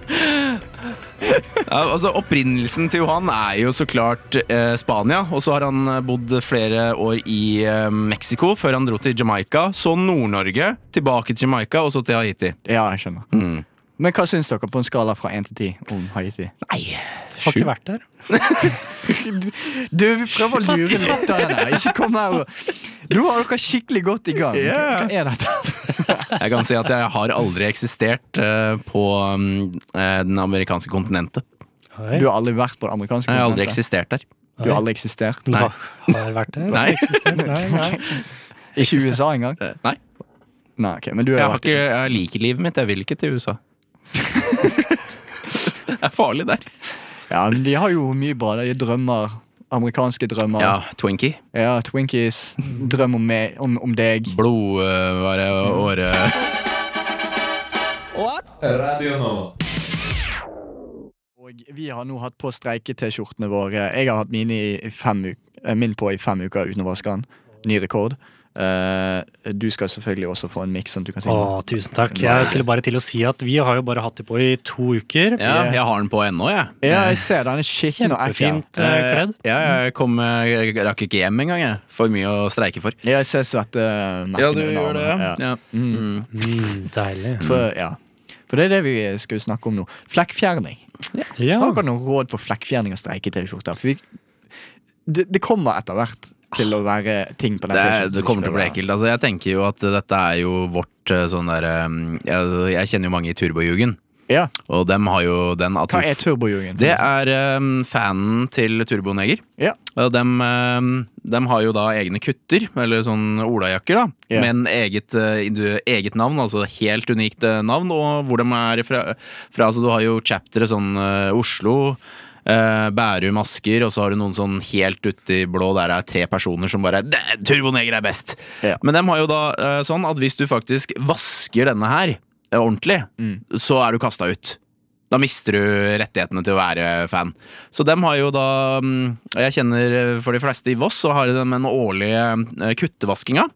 S5: Ja, altså Opprinnelsen til Johan er jo så klart eh, Spania. Og så har han eh, bodd flere år i eh, Mexico før han dro til Jamaica. Så Nord-Norge, tilbake til Jamaica og så til Haiti.
S2: Ja, jeg skjønner.
S5: Mm.
S2: Men hva syns dere på en skala fra 1 til 10 om Haiti?
S4: Har ikke vært der.
S2: [laughs] Du, vi prøver å lure lytterne. her. Ikke kom her og Nå har dere skikkelig godt i gang.
S5: Ja.
S2: Hva er dette?
S5: Jeg kan si at jeg har aldri eksistert eh, på mm, eh, den amerikanske kontinentet.
S4: Hei.
S2: Du har aldri vært på det amerikanske
S5: Jeg har aldri
S2: kontinentet?
S5: eksistert der.
S2: Du har aldri eksistert?
S4: Nei.
S5: Nei.
S4: Har jeg vært der?
S5: Nei.
S4: Eksistert? Nei,
S2: [laughs]
S4: nei.
S2: Ikke i USA engang?
S5: Eh, Nei.
S2: Nei, ok, men du
S5: Jeg,
S2: har
S5: har
S2: vært
S5: ikke, jeg liker livet mitt, jeg vil ikke til USA. [laughs] det er farlig der.
S2: Ja, men de har jo mye bra. De har drømmer. Amerikanske drømmer.
S5: Ja, Twinkie.
S2: Ja, Twinkies. Drøm om, meg, om, om deg.
S5: Blodåre åre
S2: Og vi har nå hatt på streike-T-skjortene våre. Jeg har hatt mine i fem uk eh, min på i fem uker uten å vaske den. Ny rekord. Eh, du skal selvfølgelig også få en miks, sånn at du kan si
S4: Å, tusen takk. Jeg skulle bare til å si at vi har jo bare hatt det på i to uker.
S5: Ja,
S2: [laughs]
S5: jeg har den på ennå, jeg.
S2: Ja, jeg ser den er skitten og ekkel.
S4: Kjempefint eh, kledd.
S5: Ja, jeg, kom, jeg rakk ikke hjem engang. Jeg. For mye å streike for.
S2: Ja, jeg ser svettemerkene under armene. Ja.
S5: Ja. Mm.
S4: Mm, deilig.
S2: For, ja. For det er det vi skal snakke om nå. Flekkfjerning.
S4: Ja.
S2: Har dere noen råd for flekkfjerning av streike-T-skjorter? For vi, det, det kommer etter hvert til å være ting på den
S5: Det, er,
S2: T-skjorten
S5: det
S2: som
S5: kommer til å bli
S2: skal være-
S5: ekkelt. Altså, jeg tenker jo at dette er jo vårt eh, sånn derre jeg, jeg kjenner jo mange i turbojugen,
S2: Ja.
S5: og dem har jo den at
S2: Hva
S5: du
S2: er
S5: f-
S2: turbojungen?
S5: Det er eh, fanen til Turboneger.
S2: Ja.
S5: Og dem, eh, dem har jo da egne kutter, eller sånn olajakker, da.
S2: Ja.
S5: Med en eget, eh, indu- eget navn, altså helt unikt eh, navn, og hvor de er fra. fra altså, du har jo chaptere sånn eh, Oslo. eh, Bærum, Asker, og så har du noen sånn helt uti blå der det er tre personer som bare "Dæ, Turboneger er best!
S2: Ja.
S5: Men dem har jo da eh, sånn at hvis du faktisk vasker denne her eh, ordentlig,
S2: Mm.
S5: så er du kasta ut. Da mister du rettighetene til å være fan. Så dem har jo da mm, og Jeg kjenner eh, for de fleste i Voss, så har de den årlige eh, kuttevaskinga.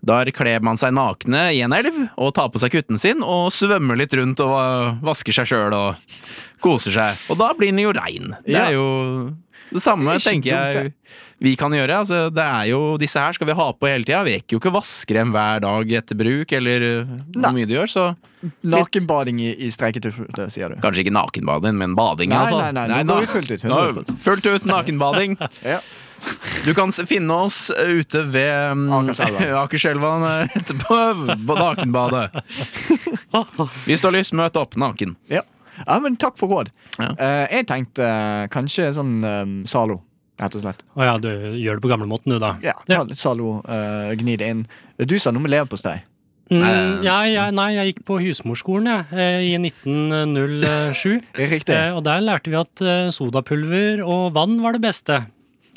S5: Der kler man seg nakne i en elv og tar på seg kutten sin og svømmer litt rundt og eh, vasker seg sjøl og koser seg. Og da blir den jo rein. Det
S2: Ja.
S5: er jo det samme
S2: Det er ikke
S5: tenker jeg
S2: dumt,
S5: vi kan gjøre. Altså, det er jo, disse her skal vi ha på hele tida. Vi rekker jo ikke å vaske dem hver dag etter bruk eller eh,
S2: Nei.
S5: hvor mye de gjør, så
S2: Nakenbading i, i streiketuffete, sier du.
S5: Kanskje ikke nakenbading, men bading. i
S2: Nei,
S5: alle fall.
S2: nei, nei, nå går vi fullt ut,
S5: nå-
S2: 100%.
S5: fullt ut nakenbading.
S2: Ja.
S5: Du kan s- finne oss eh, ute ved mm, [laughs]
S2: Akerselva.
S5: Akerselva etterpå. på Nakenbadet. Hvis du har lyst, møt opp naken.
S2: Ja. ja, men takk for råd.
S5: Ja.
S2: Eh, jeg tenkte eh, kanskje sånn eh, Zalo. rett og slett.
S4: Å ja, du gjør det på gamlemåten, du, da.
S2: Ja, Ta litt Zalo, eh, gni det inn. Du sa noe med leverpostei.
S4: Mm, jeg, jeg, nei, jeg gikk på husmorskolen jeg, eh, i 1907.
S2: Riktig.
S4: Eh, Og der lærte vi at eh, sodapulver og vann var det beste.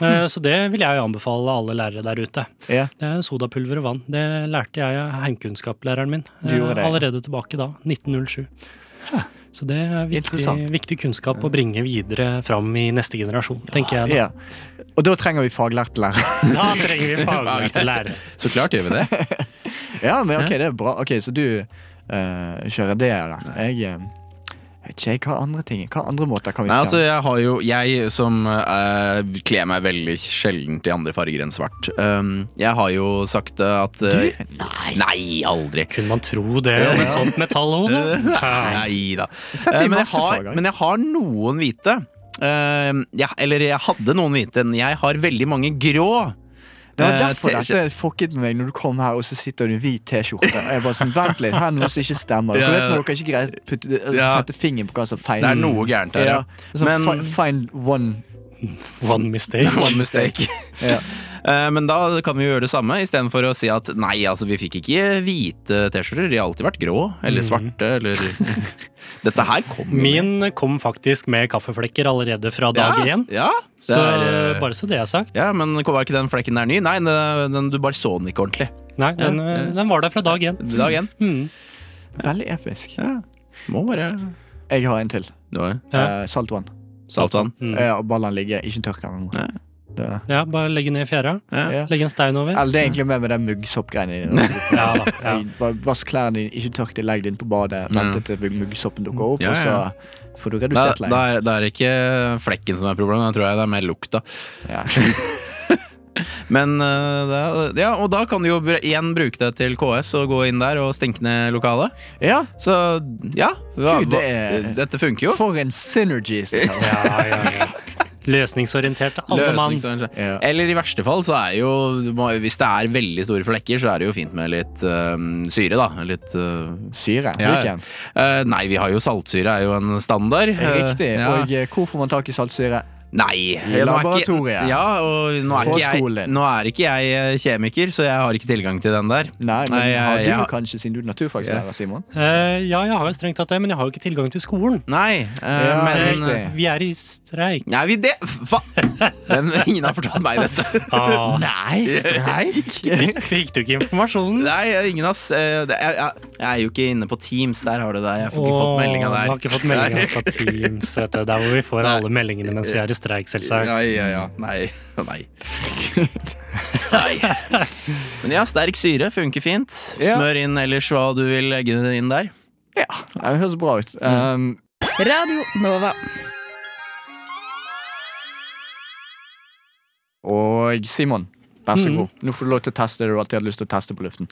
S4: Eh, Så det vil jeg jo anbefale alle lærere der ute.
S2: Ja.
S4: Det er sodapulver og vann. Det lærte jeg av heimkunnskapslæreren min
S2: Du gjorde
S4: eh,
S2: det, ja.
S4: allerede tilbake da, 1907. Så det er viktig,
S2: Interessant.
S4: viktig kunnskap å bringe videre fram i neste generasjon, tenker jeg.
S2: ja. Og da trenger vi faglærte lærere.
S4: Da, da trenger vi [laughs] faglærte lærere.
S5: Så klart gjør vi det.
S2: [laughs] Ja, men ok, det er bra. Ok, Så du eh, kjører det der. Jeg eh, vet ikke, jeg, hva andre ting Hva andre måter kan vi
S5: Nei, altså
S2: fjerne?
S5: jeg har jo Jeg som eh, kler meg veldig sjeldent i andre farger enn svart. Um, jeg har jo sagt eh, at eh, Nei. aldri.
S4: Kunne man tro det om et sånt metallhode? Ja.
S5: Nei da.
S2: Sett det i
S5: eh, men, jeg
S2: masse
S5: har,
S2: farger.
S5: men jeg har noen hvite. Um, jeg, eller jeg hadde noen hvite. men Jeg har veldig mange grå.
S2: Det var
S5: eh,
S2: derfor
S5: te-
S2: dette fucket med meg når du kom her, og så sitter du i en hvit T-skjorte. Og jeg bare sånn, vent litt, her er noe som ikke stemmer. Dere
S5: Ja, ja.
S2: vet når dere ikke greier å putte- altså,
S5: Ja.
S2: sette fingeren på hva som
S5: Det
S2: feiler.
S5: er noe gærent her,
S2: Mm. ja. Sånn
S5: ja.
S2: Så
S5: Men-
S2: fi- find one.
S4: One mistake.
S5: [laughs] One mistake.
S2: Ja.
S5: Eh, Men da kan vi jo gjøre det samme, istedenfor å si at nei, altså vi fikk ikke hvite T-skjorter, de har alltid vært grå eller svarte eller Dette her kom jo
S4: Min kom faktisk med kaffeflekker allerede fra dag
S5: ja,
S4: én.
S5: Ja,
S4: Så
S5: det er, eh,
S4: bare så det er sagt.
S5: ja, men var ikke den flekken der ny? Nei, den, den, du bare så den ikke ordentlig.
S4: Nei, den, eh, den var der fra dag én.
S5: Dag én.
S4: Mm.
S2: Veldig episk.
S5: Ja. Må bare
S2: Jeg har en til.
S5: Det var
S4: Ja.
S2: Eh, saltvann.
S5: saltvann.
S4: Mm.
S2: Eh, og ballene ligger ikke tørka
S5: Nei.
S2: engang. Det-
S4: Ja, bare legge ned fjæra.
S5: Ja.
S2: Ja.
S4: Legge en stein over.
S2: Eller det er egentlig mer med den muggsoppgreiene dine.
S5: [laughs]
S4: Ja, da, ja.
S2: Bare Vask klærne dine, ikke tørk det, legg det inn på badet, vente til muggsoppen dukker opp,
S5: Ja, ja.
S2: og så får du
S5: Da,
S2: redusert
S5: da,
S2: leien.
S5: er, da er det ikke flekken som er problemet, da tror jeg det er mer lukta.
S2: Ja.
S5: [laughs] Men eh, det er, ja, Og da kan du jo br- igjen bruke det til KS og gå inn der og stenke ned lokalet.
S2: ja.
S5: Så ja, hva,
S2: Gud, det er-
S5: hva, dette funker jo.
S2: For en synergies! det her.
S4: Ja, ja, ja. Løsningsorientert til alle mann.
S5: Løsningsorientert.
S2: Ja.
S5: Eller i verste fall, så er jo må- Hvis det er veldig store flekker, så er det jo fint med litt øhm, syre, da. Litt øh,
S2: Syre.
S5: ja.
S2: Hvilken?
S5: Eh, nei, vi har jo saltsyre, er jo en standard. Eh,
S2: Riktig.
S5: ja.
S2: Og eh, hvor får man tak i saltsyre?
S5: Nei! nå er
S2: laboratoriet.
S5: Ikke, ja, og nå er,
S2: På
S5: ikke jeg,
S2: skolen.
S5: nå er ikke jeg eh, kjemiker, så jeg har ikke tilgang til den der.
S2: Nei, men
S5: Nei,
S2: har du
S5: jeg- jeg-
S2: kanskje, siden du er naturfagslærer, Simon?
S4: Eh, ja, jeg har jo strengt tatt det, men jeg har jo ikke tilgang til skolen.
S5: Nei, eh,
S2: Ja,
S5: men
S2: riktig.
S5: eh,
S4: Vi er i streik.
S5: Er vi det? Hva? Men [laughs] ingen har fortalt meg
S2: [laughs]
S5: dette. [laughs]
S4: Ah, [laughs]
S2: Nei, streik!
S4: fikk du ikke informasjonen?
S5: Nei, ingen ass. Eh, det- Jeg, jeg, jeg er jo ikke inne på Teams, der har du det. Jeg får ikke fått meldinga
S4: Åh,
S5: der.
S4: du har ikke
S5: [laughs]
S4: fått meldinga fra Teams, vet du. Der hvor vi får alle meldingene mens vi er i streik,
S5: Ja,
S4: selvsagt.
S5: ja, ja. Nei. [laughs] Nei. Nei. [laughs] Men ja, sterk syre funker fint.
S2: Ja.
S5: Smør inn ellers hva du vil legge det inn der.
S2: [laughs] Ja, det høres bra ut. Um,
S6: Radio Nova.
S2: og Simon, vær så
S6: Mm.
S4: Mhm.
S2: god. Nå får du lov til å teste det du alltid har lyst til å teste på luften.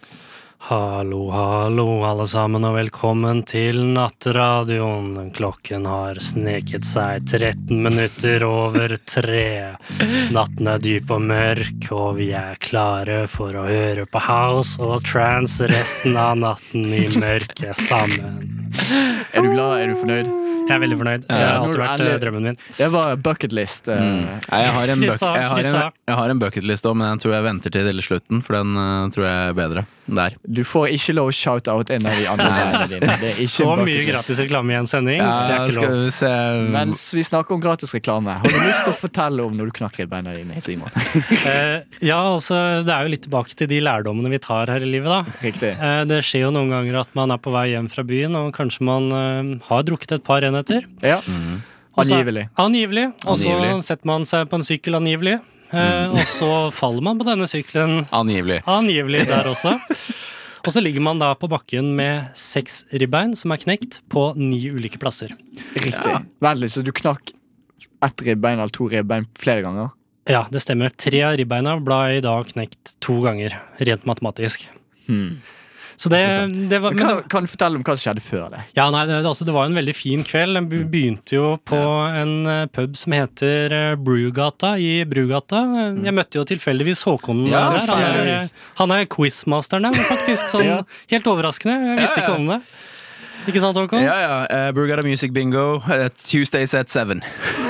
S4: Hallo, hallo, alle sammen, og velkommen til Nattradioen. Klokken har sneket seg 13 minutter over tre. Natten er dyp og mørk, og vi er klare for å høre på house og trance resten av natten i mørket sammen.
S2: Er du glad? Er du fornøyd?
S4: Jeg er veldig fornøyd. Det har
S2: nå er
S4: alltid
S2: du
S4: vært eh,
S2: ærlig.
S4: drømmen min.
S2: Det var bucketlist. Uh,
S5: Mm. Nei, Jeg har en, buck-
S4: Kryssa,
S5: jeg har
S4: kryssa.
S5: en, jeg har en bucketlist òg, men den tror jeg venter til hele slutten, for den eh, tror jeg er bedre. Der.
S2: Du får ikke lov å shoute out en av de andre bandene dine. Det er ikke
S4: Så
S2: en bucket
S4: mye
S2: list.
S4: gratis reklame i en sending. det er ikke
S5: skal
S4: lov.
S5: vi se
S2: Mens vi snakker om gratis reklame, har du lyst til å fortelle om når du knakk ribbeina dine? Simon?
S4: Eh, ja, altså, det er jo litt tilbake til de lærdommene vi tar her i livet, da.
S2: Riktig.
S4: Eh, det skjer jo noen ganger at man er på vei hjem fra byen, og kanskje man eh, har drukket et par enheter.
S2: Ja.
S4: Og så-
S2: Angivelig.
S4: Angivelig. Og så
S5: Angivelig.
S4: setter man seg på en sykkel angivelig, eh, og så faller man på denne sykkelen
S5: Angivelig.
S4: angivelig der også. Og så ligger man da på bakken med seks ribbein som er knekt, på ni ulike plasser.
S2: Riktig. Vent litt, så du knakk ett ribbein eller to ribbein flere ganger?
S4: Ja, det stemmer. Tre av ribbeina ble i dag knekt to ganger, rent matematisk. Så det, det var men,
S2: Kan,
S4: det-
S2: kan du fortelle om hva som skjedde før det?
S4: Ja, nei, det, altså, det var en veldig fin kveld. Den
S5: Mm.
S4: be- begynte jo på en eh, pub som heter eh, Brugata i Brugata. Eh, Jeg møtte jo tilfeldigvis Håkon
S5: Mm. Ja,
S4: der. Han er, eh,
S5: tilfeldigvis.
S4: han er quizmasteren der,
S5: [laughs]
S4: faktisk. Sånn
S2: Ja.
S4: helt overraskende. Jeg visste
S5: Ja, ja.
S4: ikke om det. Ikke sant, Håkon? [laughs]
S5: Ja, ja. eh, Brugada Music Bingo, eh, Tuesdays at seven.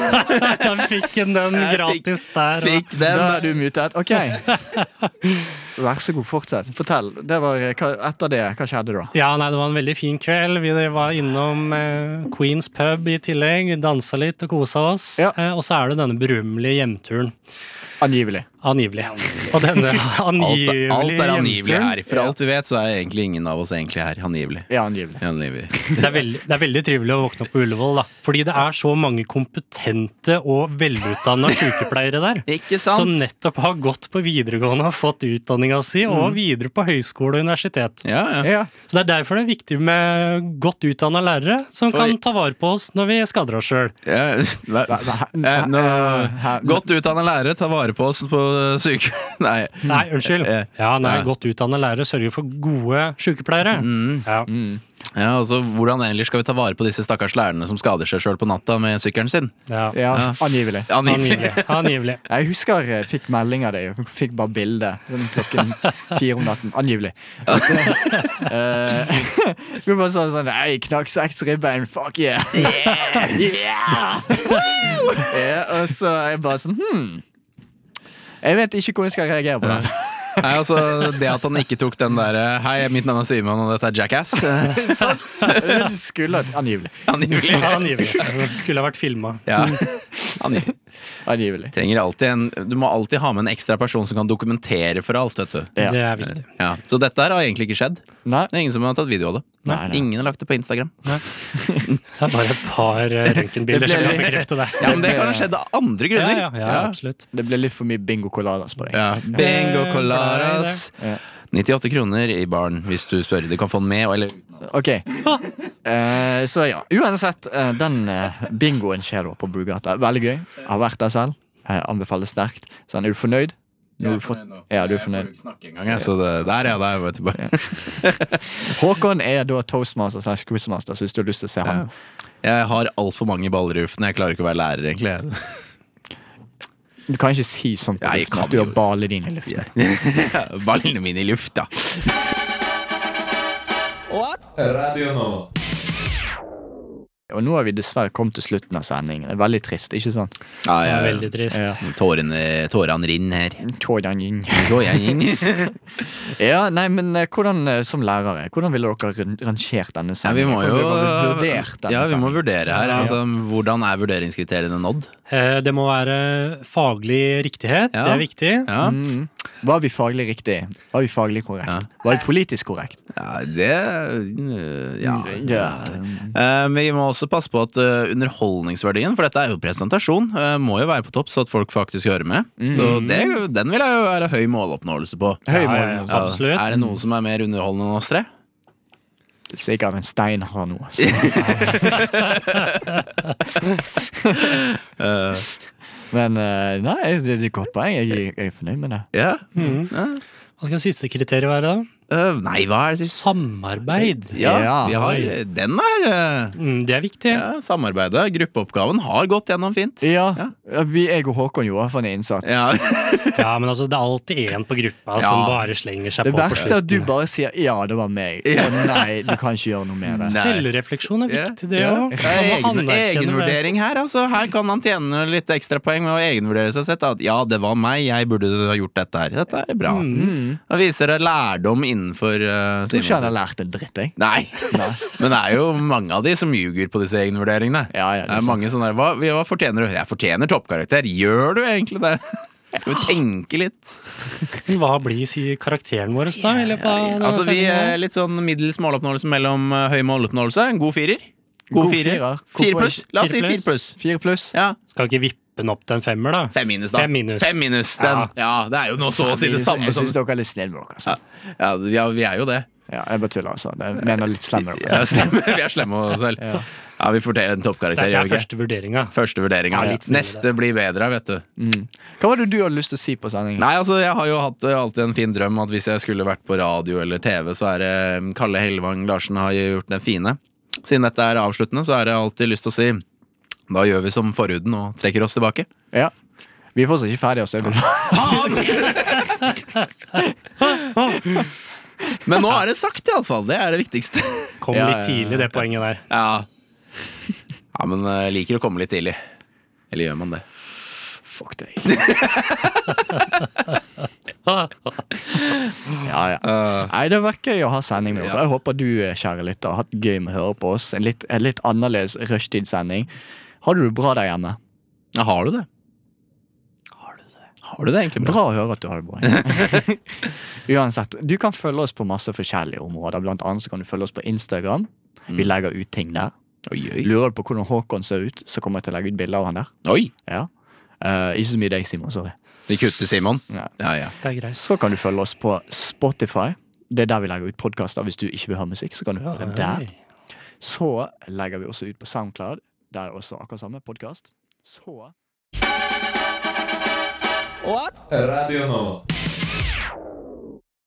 S4: Da fikk han den
S5: Jeg fikk-
S4: gratis der. og-
S5: Fikk den.
S2: Da er du mutet. Ok. Vær så god, fortsett. Fortell. Det var, eh, hva- etter det, hva skjedde da?
S4: Ja, nei, det var en veldig fin kveld. Vi var innom eh, Queens pub i tillegg. Dansa litt og kosa oss.
S2: Ja.
S4: Eh, og så er det denne berømmelige hjemturen.
S2: Angivelig.
S4: Angivelig. Og denne
S5: Alt,
S4: angivelige
S5: alt er angivelig
S4: hjemturen.
S5: her. For alt vi vet, så er egentlig ingen av oss egentlig her angivelig.
S2: Ja, angivelig.
S5: Angivelig.
S4: Det er, veldig, det er veldig trivelig å våkne opp på Ullevål, da. Fordi det er så mange kompetente og velutdanna sykepleiere der.
S5: Ikke
S4: Som
S5: sant?
S4: nettopp har gått på videregående og fått utdanninga si,
S5: Mm.
S4: og videre på høyskole og universitet.
S5: Ja, ja.
S2: Ja.
S4: Så det er derfor det er viktig med godt utdanna lærere, som
S5: For-
S4: kan ta vare på oss når vi skader oss sjøl.
S5: Ja, hva- Eh, nå, godt utdanna lærere, ta vare på oss på syke... [laughs] Nei.
S4: Nei, unnskyld.
S5: Eh, eh,
S4: Ja, nei,
S5: ja.
S4: godt utdanna lærere sørger for gode sykepleiere.
S5: Mm.
S4: Ja.
S5: Ja, altså, hvordan ellers skal vi ta vare på disse stakkars lærerne som skader seg sjøl på natta med sykkelen sin?
S4: Ja.
S2: Ja, angivelig.
S5: Angivelig.
S4: Angivelig. Angivelig.
S2: Jeg husker jeg fikk melding av deg. Fikk bare bilde sånn klokken fire om natten. Angivelig. Eh, [laughs] Du bare sa sånn Hei, knakk seks ribbein. Fuck yeah! Yeah! Woo! ja, og så er jeg bare sånn Hm. Jeg vet ikke hvordan jeg skal reagere på det.
S5: [laughs] Nei, altså, det at han ikke tok den derre 'hei, mitt navn er Simon, og dette er [laughs] Jackass' eh,
S2: Sånn. [laughs] Du skulle ha Angivelig.
S5: Angivelig.
S4: Angivelig. Skulle ha vært filma.
S5: Ja. Angivelig.
S2: Angivelig.
S5: Trenger alltid en, du må alltid ha med en ekstra person som kan dokumentere for alt. vet du
S2: Ja.
S4: Det er viktig.
S5: ja. Så dette her har egentlig ikke skjedd. Det
S2: Nei.
S5: er Ingen som har tatt video av det.
S2: Nei, nei.
S5: Ingen har lagt det på Instagram.
S4: Det er bare et par eh,
S2: Det
S4: røntgenbilder
S2: ble
S4: som kan
S2: litt-
S4: bekrefte det.
S5: Ja, Men det kan ha skjedd av andre
S4: Ja,
S5: grunner.
S4: ja, ja, absolutt.
S2: Det ble litt for mye bingo coladas på deg.
S5: Ja, Bingo
S4: Det-
S5: coladas.
S2: Ja.
S5: 98 kroner i baren hvis du spør. Du kan få den med og- eller
S2: Ok. Eh, så ja, uansett. eh, den eh, bingoen skjer da på Brugata. Veldig gøy. Jeg har vært der selv. Jeg anbefaler sterkt. Sånn, er du fornøyd? Nå har du fått- ja, du er fornøyd.
S5: Ja, så det, der, ja, der, vet du bare.
S2: Håkon er da toastmaster slash quizmaster, så hvis du har lyst til å se ham
S5: [laughs] Jeg har altfor mange baller i luften. Jeg klarer ikke å være lærer, egentlig. [laughs]
S2: Du kan ikke si sånn på
S5: Ja, jeg
S2: luften
S5: kan
S2: at du har
S5: jo.
S2: balet dine i luften.
S5: Ballene mine i lufta.
S1: Radio Nova.
S2: Og nå har vi dessverre kommet til slutten av sendingen. Det er veldig trist, ikke sant?
S5: Ja,
S4: Det er
S5: ja, ja.
S4: veldig trist.
S5: Tårene, tårene rinner her.
S2: Tådanjing.
S5: Går jeg inn?
S2: Ja, nei, men eh, hvordan eh, som lærere, hvordan ville dere ran- rangert denne
S5: Ja, vi [laughs]
S2: sendingen?
S5: må jo
S2: Hvordan ville dere vurdert denne
S5: Ja, vi må
S2: sendingen?
S5: vurdere her. Altså, hvordan er vurderingskriteriene nådd?
S4: Eh, Det må være faglig riktighet.
S5: Ja.
S4: Det er viktig.
S5: Ja,
S2: Mm. Var vi faglig riktig? Var vi faglig korrekt?
S5: Ja.
S2: Var vi politisk korrekt? Mm.
S5: ja det Ja. Eh, men vi må også passe på at eh, underholdningsverdien, for dette er jo presentasjon, eh, må jo være på topp, så at folk faktisk hører med. Så det, er jo- den vil jeg jo være høy måloppnåelse på.
S2: Høy
S4: Ja, ja,
S2: mål.
S4: ja. Absolutt.
S5: Er det noen som er mer underholdende enn oss tre?
S2: Sikkert en stein
S5: [laughs]
S2: har noe. Så. [laughs] Men eh, nei, det det er et godt poeng. Jeg, jeg er fornøyd med det.
S5: Ja.
S4: Mhm. Hva skal siste kriteriet være, da?
S5: Eh, nei, hva er det siste?
S4: Samarbeid.
S5: Eh, Ja,
S2: Ja.
S5: vi har, den er eh,
S4: Mm, Det er viktig.
S5: ja, Samarbeidet, gruppeoppgaven, har gått gjennom fint.
S2: Ja, vi, jeg og Håkon gjorde for en innsats.
S5: Ja.
S4: [laughs] Ja, men altså, det er alltid én på gruppa som
S5: Ja.
S4: bare slenger seg
S2: Det
S4: på. på
S2: verste er at du
S4: slutten.
S2: bare sier 'ja, det var meg'. Og nei, du kan ikke gjøre noe med det.
S5: Nei.
S4: Selvrefleksjon er
S5: Ja,
S4: viktig, det
S5: ja.
S4: òg.
S5: Det er Egen, egenvurdering her, altså. Her kan han tjene litt ekstrapoeng med å egenvurdere seg selv. At ja, det var meg, jeg burde ha gjort dette her. Dette er bra.
S4: Mm.
S5: Det viser deg lærdom innenfor uh,
S2: Jeg tror ikke han har lært en dritt, jeg.
S5: Nei. [laughs] Men det er jo mange av de som ljuger på disse egenvurderingene.
S2: Ja, ja, det er
S5: det er
S2: sant.
S5: mange sånne der, hva, hva fortjener du? Jeg fortjener toppkarakter. Gjør du egentlig det? Skal vi tenke litt?
S4: Hva blir si, karakteren vår da? i løpet av denne
S5: Altså, vi
S4: sendingen?
S5: er litt sånn middels måloppnåelse mellom eh, høy måloppnåelse. En god firer.
S2: God
S5: firer.
S2: firer.
S5: Fire
S2: Hvorfor
S5: pluss.
S2: ikke?
S5: La oss si
S4: Fire
S5: fire pluss.
S2: Fire pluss.
S5: Ja.
S4: Skal ikke vippe den opp til en femmer, da?
S5: Fem minus, da.
S4: Fem minus.
S5: Fem minus, Den. Ja. det er jo nå så å si det samme
S2: jeg
S5: som
S2: syns dere er litt snille med dere. Altså.
S5: ja, ja, ja, vi er jo det.
S2: Ja, jeg bare tuller, altså. Jeg mener litt slem med
S5: Ja,
S2: dere.
S5: slemme. [laughs] Vi er slemme med oss selv.
S2: Ja.
S5: Ja, vi forteller en
S4: Det
S5: toppkarakter.
S4: er, det
S5: gjør
S4: er
S5: vi ikke?
S4: første vurderinga.
S5: Første vurderinga.
S4: Ja, litt snillere.
S5: Neste blir bedre, vet du.
S2: Hva var det du hadde lyst til å si på sendingen?
S5: Nei, altså, jeg har jo hatt eh, alltid en fin drøm at hvis jeg skulle vært på radio eller TV, så er det eh, Kalle Hellevang Larsen har jo gjort det fine. Siden dette er avsluttende, så er det alltid lyst til å si da gjør vi som forhuden og trekker oss tilbake.
S2: Ja. Vi er fortsatt ikke ferdige. Altså. Jeg vil-
S5: Men nå er det sagt, iallfall. Det er det [laughs] viktigste.
S4: Kom
S2: Ja,
S4: litt
S2: ja, ja.
S5: [laughs]
S4: tidlig, det poenget der.
S5: Ja, ja men eh, liker å komme litt tidlig. Eller gjør man det?
S2: [laughs] Fuck deg. [laughs] ja, ja. Nei, det var gøy å ha sending med dere. Jeg håper du, eh, kjære lytter, har hatt gøy med å høre på oss. En litt, en litt annerledes rushtidssending. Har du det bra der hjemme?
S5: Ja, har du det? Har du det egentlig bra?
S2: Bra å høre at du har det bra. Uansett, du kan følge oss på masse forskjellige områder. Blant annet så kan du følge oss på Instagram. Vi legger ut ting der.
S5: Oi, oi.
S2: Lurer du på hvordan Håkon ser ut, så kommer jeg til å legge ut bilder av han der.
S5: oi.
S2: Ja. Eh, ikke så mye deg, Simon. Sorry.
S5: Det kutter Simon.
S2: Ja.
S5: Ja, ja.
S4: Det er greit.
S2: Så kan du følge oss på Spotify. Det er der vi legger ut podkaster. Hvis du ikke vil ha musikk, så kan du høre der. Så legger vi også ut på SoundCloud. Der er også akkurat samme podkast. Så
S1: Radio Nova.